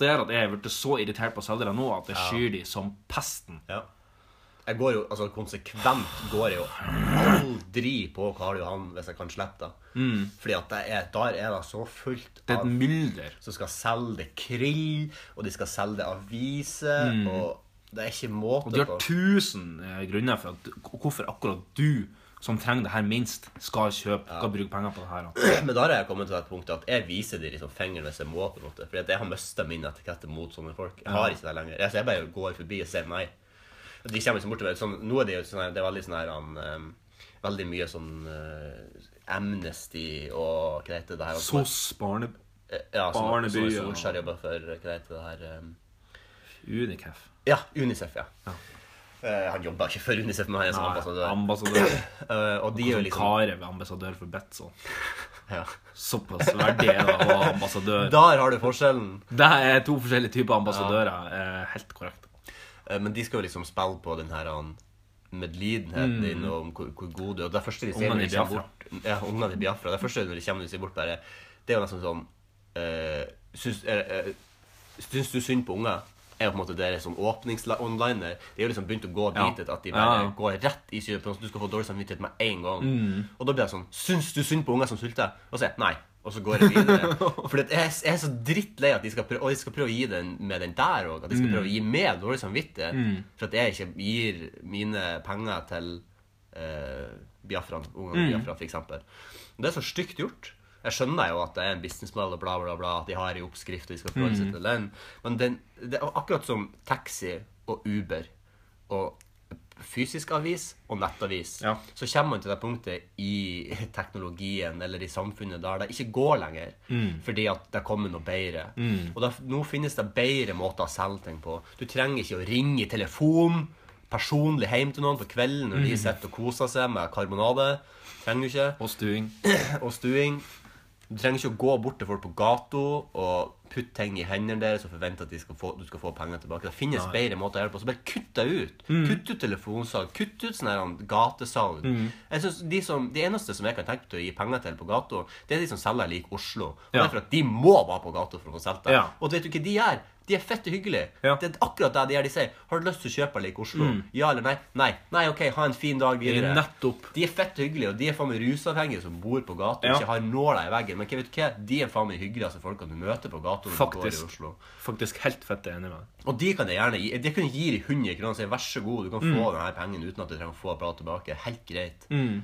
J: Det gjør at jeg er blitt så irritert på selgere nå at jeg
C: Ja.
J: skyr de som pesten.
C: Ja. Jeg går jo, altså Konsekvent går jeg jo aldri på Karl Johan hvis jeg kan slippe det.
J: Mm.
C: Fordi at det er, der er det så fullt
J: Det er et mylder.
C: Som skal selge det krill, og de skal selge det aviser,
J: Mm.
C: og det er ikke måte
J: Og de har tusen eh, grunner for at, hvorfor akkurat du, som trenger det her minst, skal kjøpe, skal bruke penger på det her. altså. da.
C: Men da har jeg kommet til et punkt at jeg viser dem liksom fingeren hvis jeg må. på en måte Fordi at jeg har mista min etikette mot sånne folk. Jeg har
J: Ja.
C: ikke det lenger. Jeg, så jeg bare går forbi og sier nei. Og De kommer liksom bort til meg sånn, Nå er det jo sånn her, det er veldig sånn her han, ehm, Veldig mye sånn eh, Amnesty og hva heter det her eh,
J: SOS, barne...
C: Ja, som, som
J: Barnebyer.
C: Solskjær jobber for. Hva heter det her ehm,
J: Unicef.
C: ja, Unicef, ja. Eh, han jobber ikke for Unicef, men han er sånn som
J: Nei,
C: ambassadør.
J: ambassadør.
C: Eh, og de er jo liksom
J: Kare ved ambassadør for Betzo. Såpass verdig Altså, er det å være ambassadør.
C: Der har du forskjellen.
J: Det er to forskjellige typer ambassadører. Eh, Helt korrekt.
C: Eh, Men de skal jo liksom spille på den her han, medlidenheten
J: Mm.
C: din og om hvor, hvor god du er. Og det første de sier
J: Ungene
C: når de
J: i
C: kommer
J: Biafra.
C: bort Ja, ungene i Biafra. Det første når de kommer når de sier bort, bare Det er jo nesten sånn eh, syns, eh, eh, syns du synd på unger? Er jo på en måte deres sånn åpnings-onliner. De har jo liksom begynt å gå
J: Ja.
C: dit at de
J: Ja,
C: bare
J: ja.
C: går rett i syvende Du skal få dårlig samvittighet med en gang.
J: Mm.
C: Og da blir jeg sånn Syns du synd på unger som sulter? Og så sier jeg nei. Og så går jeg videre. For jeg er jeg er så drittlei at de skal prøve, og de skal prøve å gi den med den der òg. At de skal
J: Mm.
C: prøve å gi meg dårlig samvittighet
J: Mm.
C: for at jeg ikke gir mine penger til eh, Biafran, ungene i
J: Mm.
C: Biafra, f.eks. Det er så stygt gjort. Jeg skjønner jo at det er en businessmodell og bla, bla, bla, at de har en oppskrift og de skal forholde seg
J: Mm.
C: til den, men den, det er akkurat som taxi og Uber og fysisk avis og nettavis. Så kommer man til det punktet i teknologien eller i samfunnet der det ikke går lenger.
J: Mm.
C: Fordi at det kommer noe bedre.
J: Mm.
C: Og da, nå finnes det bedre måter å selge ting på. Du trenger ikke å ringe i telefon personlig hjem til noen på kvelden når de
J: Mm.
C: sitter og koser seg med karbonade. Trenger du ikke.
J: Og stuing.
C: og stuing. Du trenger ikke å gå bort til folk på gata og putte ting i hendene deres og forvente at de skal få, du skal få penger tilbake. Det finnes
J: Nei.
C: bedre måter å gjøre det på. Så bare kutt det ut.
J: Mm.
C: Kutt ut telefonsalg. Kutt ut sånn her han, gatesalg.
J: Mm.
C: Jeg synes de, som, de eneste som jeg kan tenke til å gi penger til på gata, det er de som selger lik Oslo. Og
J: Ja.
C: det er for at de må være på gata for å få solgt det.
J: Ja.
C: Og vet du hva de gjør? De er fette hyggelige. Det er akkurat det de gjør. De sier 'Har du lyst til å kjøpe lik Oslo?'
J: Mm.
C: Ja eller nei? Nei. Nei, OK, ha en fin dag videre.
J: Nettopp.
C: De er fett hyggelige, og de er faen meg rusavhengige som bor på gata og
J: Ja.
C: ikke har nåla i veggen. Men hva vet du hva? De er faen meg altså, hyggeligste folka du møter på gata når du går i
J: Faktisk.
C: Oslo.
J: Faktisk helt fett enig med deg.
C: Og de kan jeg gjerne gi. De kan gi deg 100 kroner og si vær så god, du kan få
J: Mm.
C: denne pengen uten at du trenger å få bladet tilbake. Helt greit.
J: Mm.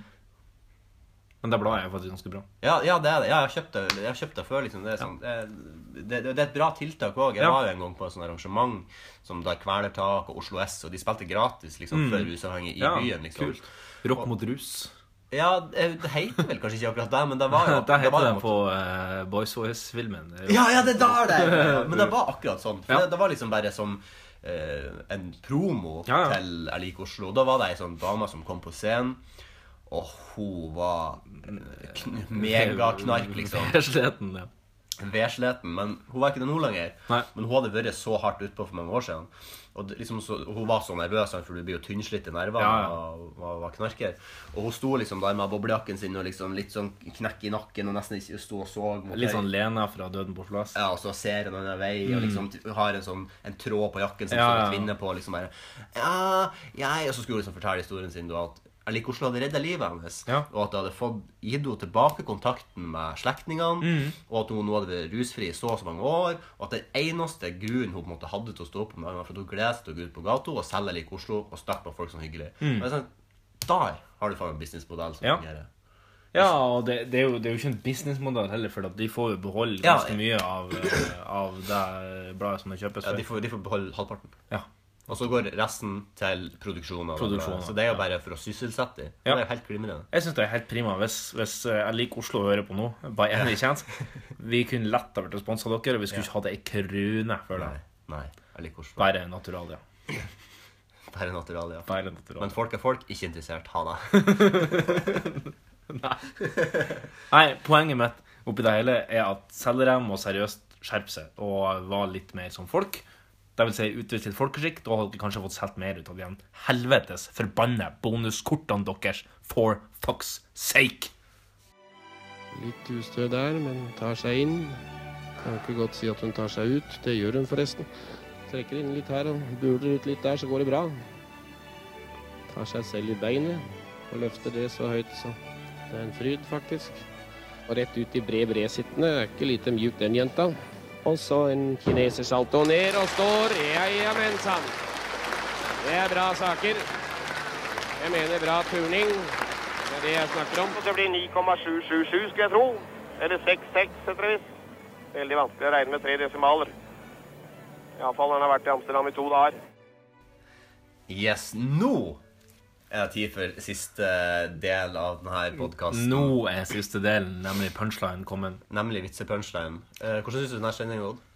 J: Men det bladet er faktisk ganske bra.
C: Ja, ja, det er det. Ja, jeg har kjøpt det, jeg har kjøpt det før. liksom. Det er, sånn, det, det, det er et bra tiltak òg. Jeg
J: Ja.
C: var jo en gang på et sånt arrangement som der Kvelertak og Oslo S, og de spilte gratis liksom,
J: Mm.
C: for rusavhengige i
J: Ja,
C: byen. liksom.
J: kult. Rock mot rus.
C: Ja, det det heter vel kanskje ikke akkurat det, men det var jo
J: det
C: var
J: heter
C: jo
J: det på eh, Boys OS-filmen.
C: Ja, ja, det er der det er! Men det var akkurat sånn. For det, det var liksom bare som eh, en promo
J: Ja, ja.
C: til Jeg liker Oslo. Da var det ei sånn dame som kom på scenen, og hun var kn megaknark, liksom.
J: Sleten, ja.
C: Vedsleten. Men hun var ikke det nå lenger. Men hun hadde vært så hardt utpå for mange år siden. Og det- liksom så, hun var så nervøs, sant, for du blir jo tynnslitt i nervene
J: Ja, ja.
C: og var, var knarker. Og hun sto liksom der med boblejakken sin og liksom litt sånn knekk i nakken og nesten ikke sto og så. mot
J: Litt
C: deg.
J: sånn Lena fra Døden på plass.
C: Ja, og så ser en annen vei og liksom t- har en sånn en tråd på jakken som
J: Mm. Ja,
C: står
J: ja,
C: en
J: ja.
C: kvinne på. liksom bare ja, jeg, Og så skulle hun liksom fortelle historien sin da at jeg liker Oslo hadde redda livet hennes. Og at det hadde fått, gitt henne tilbake kontakten med slektningene.
J: Mm.
C: Og at hun nå hadde vært rusfri i så og så mange år. Og at den eneste grunnen hun på en måte hadde til å stå opp om dagen, var for at hun gledet seg til å gå ut på gata og selge like Oslo og snakke med folk som hyggelig.
J: Mm.
C: Og det er sånn, Der har du faen en businessmodell som
J: Ja.
C: fungerer.
J: Ja, og det, det, er jo, det er jo ikke en businessmodell heller, for at de får jo beholde
C: Ja,
J: ganske mye av, eh, av det bladet som de kjøper.
C: Ja, de får, de får beholde halvparten.
J: Ja.
C: Og så går resten til produksjon. av
J: Produksjon,
C: det. Så det er jo bare for å sysselsette dem.
J: Ja.
C: Det er jo helt glimrende.
J: Jeg syns det er helt prima hvis, hvis eh, jeg liker Oslo å høre på nå, by any chance. Vi kunne lett ha vært sponsa av dere, og vi skulle ikke hatt ei krone for det.
C: Nei, jeg liker Oslo.
J: Bare natural, ja.
C: Bare natural, ja.
J: Bare natural.
C: Men folk er folk, ikke interessert. Ha det.
J: Nei, poenget mitt oppi det hele er at selgere må seriøst skjerpe seg og være litt mer som folk. Det vil si utvise litt folkeskikk. Da hadde dere kanskje fått solgt mer ut av de helvetes forbanna bonuskortene deres for fucks sake.
O: Litt ustø der, men tar seg inn. Kan ikke godt si at hun tar seg ut. Det gjør hun forresten. Trekker inn litt her og buler ut litt der, så går det bra. Tar seg selv i beinet og løfter det så høyt, så det er en fryd, faktisk. Og rett ut i bred, bred sittende. Er ikke lite mjuk, den jenta. Og så en kinesersalto ned og står. Ja, ja, men sann. Det er bra saker. Jeg mener bra turning. Det er det jeg snakker om.
P: Det blir 9,777, skulle jeg tro. Eller 66, etter visst. Veldig vanskelig å regne med tre desimaler. Iallfall når han har vært i Amsterdam i to dager.
C: Yes, nå er det tid for siste del av denne podkasten.
J: Nå er siste delen, nemlig punchline, kommet.
C: Nemlig vitsepunchline. Eh, hvordan syns du denne sendinga gått?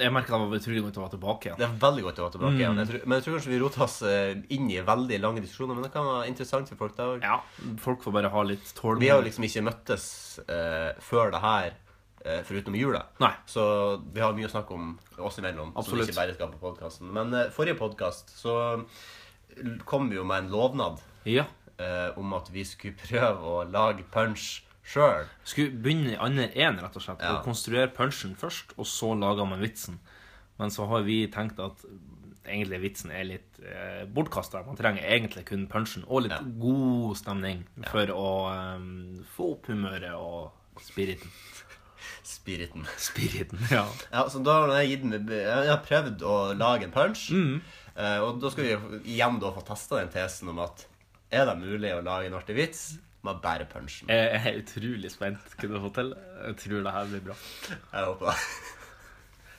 J: Jeg merket det var utrolig godt å være tilbake igjen.
C: Det er veldig godt å være tilbake igjen.
J: Mm.
C: Jeg tror, men jeg tror kanskje vi roter oss eh, inn i veldig lange diskusjoner, men det kan være interessant for folk da òg.
J: Folk får bare ha litt tålmodighet.
C: Vi har jo liksom ikke møttes eh, før det her, eh, foruten i jula. Så vi har mye å snakke om oss imellom. Som
J: Absolutt.
C: vi ikke bare skal på podcasten. Men eh, forrige podkast så l- kom vi jo med en lovnad
J: liksom-
C: eh, om at vi skulle prøve å lage punch sjøl.
J: Skulle begynne i andre én, rett og slett.
C: Ja.
J: Og konstruere punchen først, og så lager man vitsen. Men så har vi tenkt at egentlig vitsen er litt eh, bortkasta. Man trenger egentlig kun punchen og litt god stemning for å eh, få opp humøret og spiriten.
C: Spiriten.
J: Spiriten, ja.
C: Ja, så da har jeg, gitt, den- jeg har prøvd å lage en punch. eh, og da skal vi jo igjen da få testa den tesen om at er det mulig å lage en artig vits med bare punchen?
J: Jeg er utrolig spent. Kunne du få til? Jeg tror det her blir bra.
C: Jeg håper det.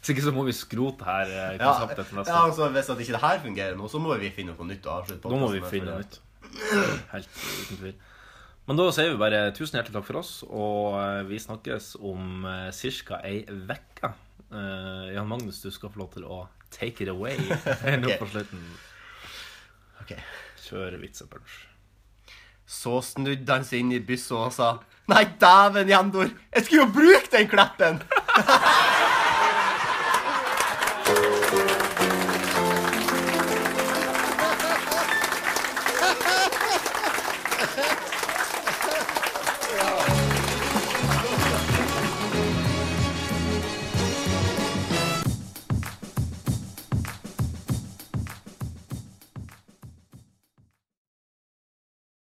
J: Så ikke så må vi skrote her eh,
C: Ja,
J: konseptet til neste
C: ja, altså Hvis at ikke det her fungerer nå, så må vi finne noe nytt å avslutte
J: Da må vi
C: podcasten med,
J: finne
C: fordi-
J: noe nytt. Helt uten tvil. Men da sier vi bare tusen hjertelig takk for oss, og eh, vi snakkes om ca. ei uke. Eh, Jan Magnus, du skal få lov til å take it away nå
C: Ok.
J: på slutten.
C: Ok.
J: Kjør vitsepunch.
C: Så snudde han seg inn i byssa og sa Nei, dæven, Jandor! Jeg skulle jo bruke den kleppen!
Q: Ja.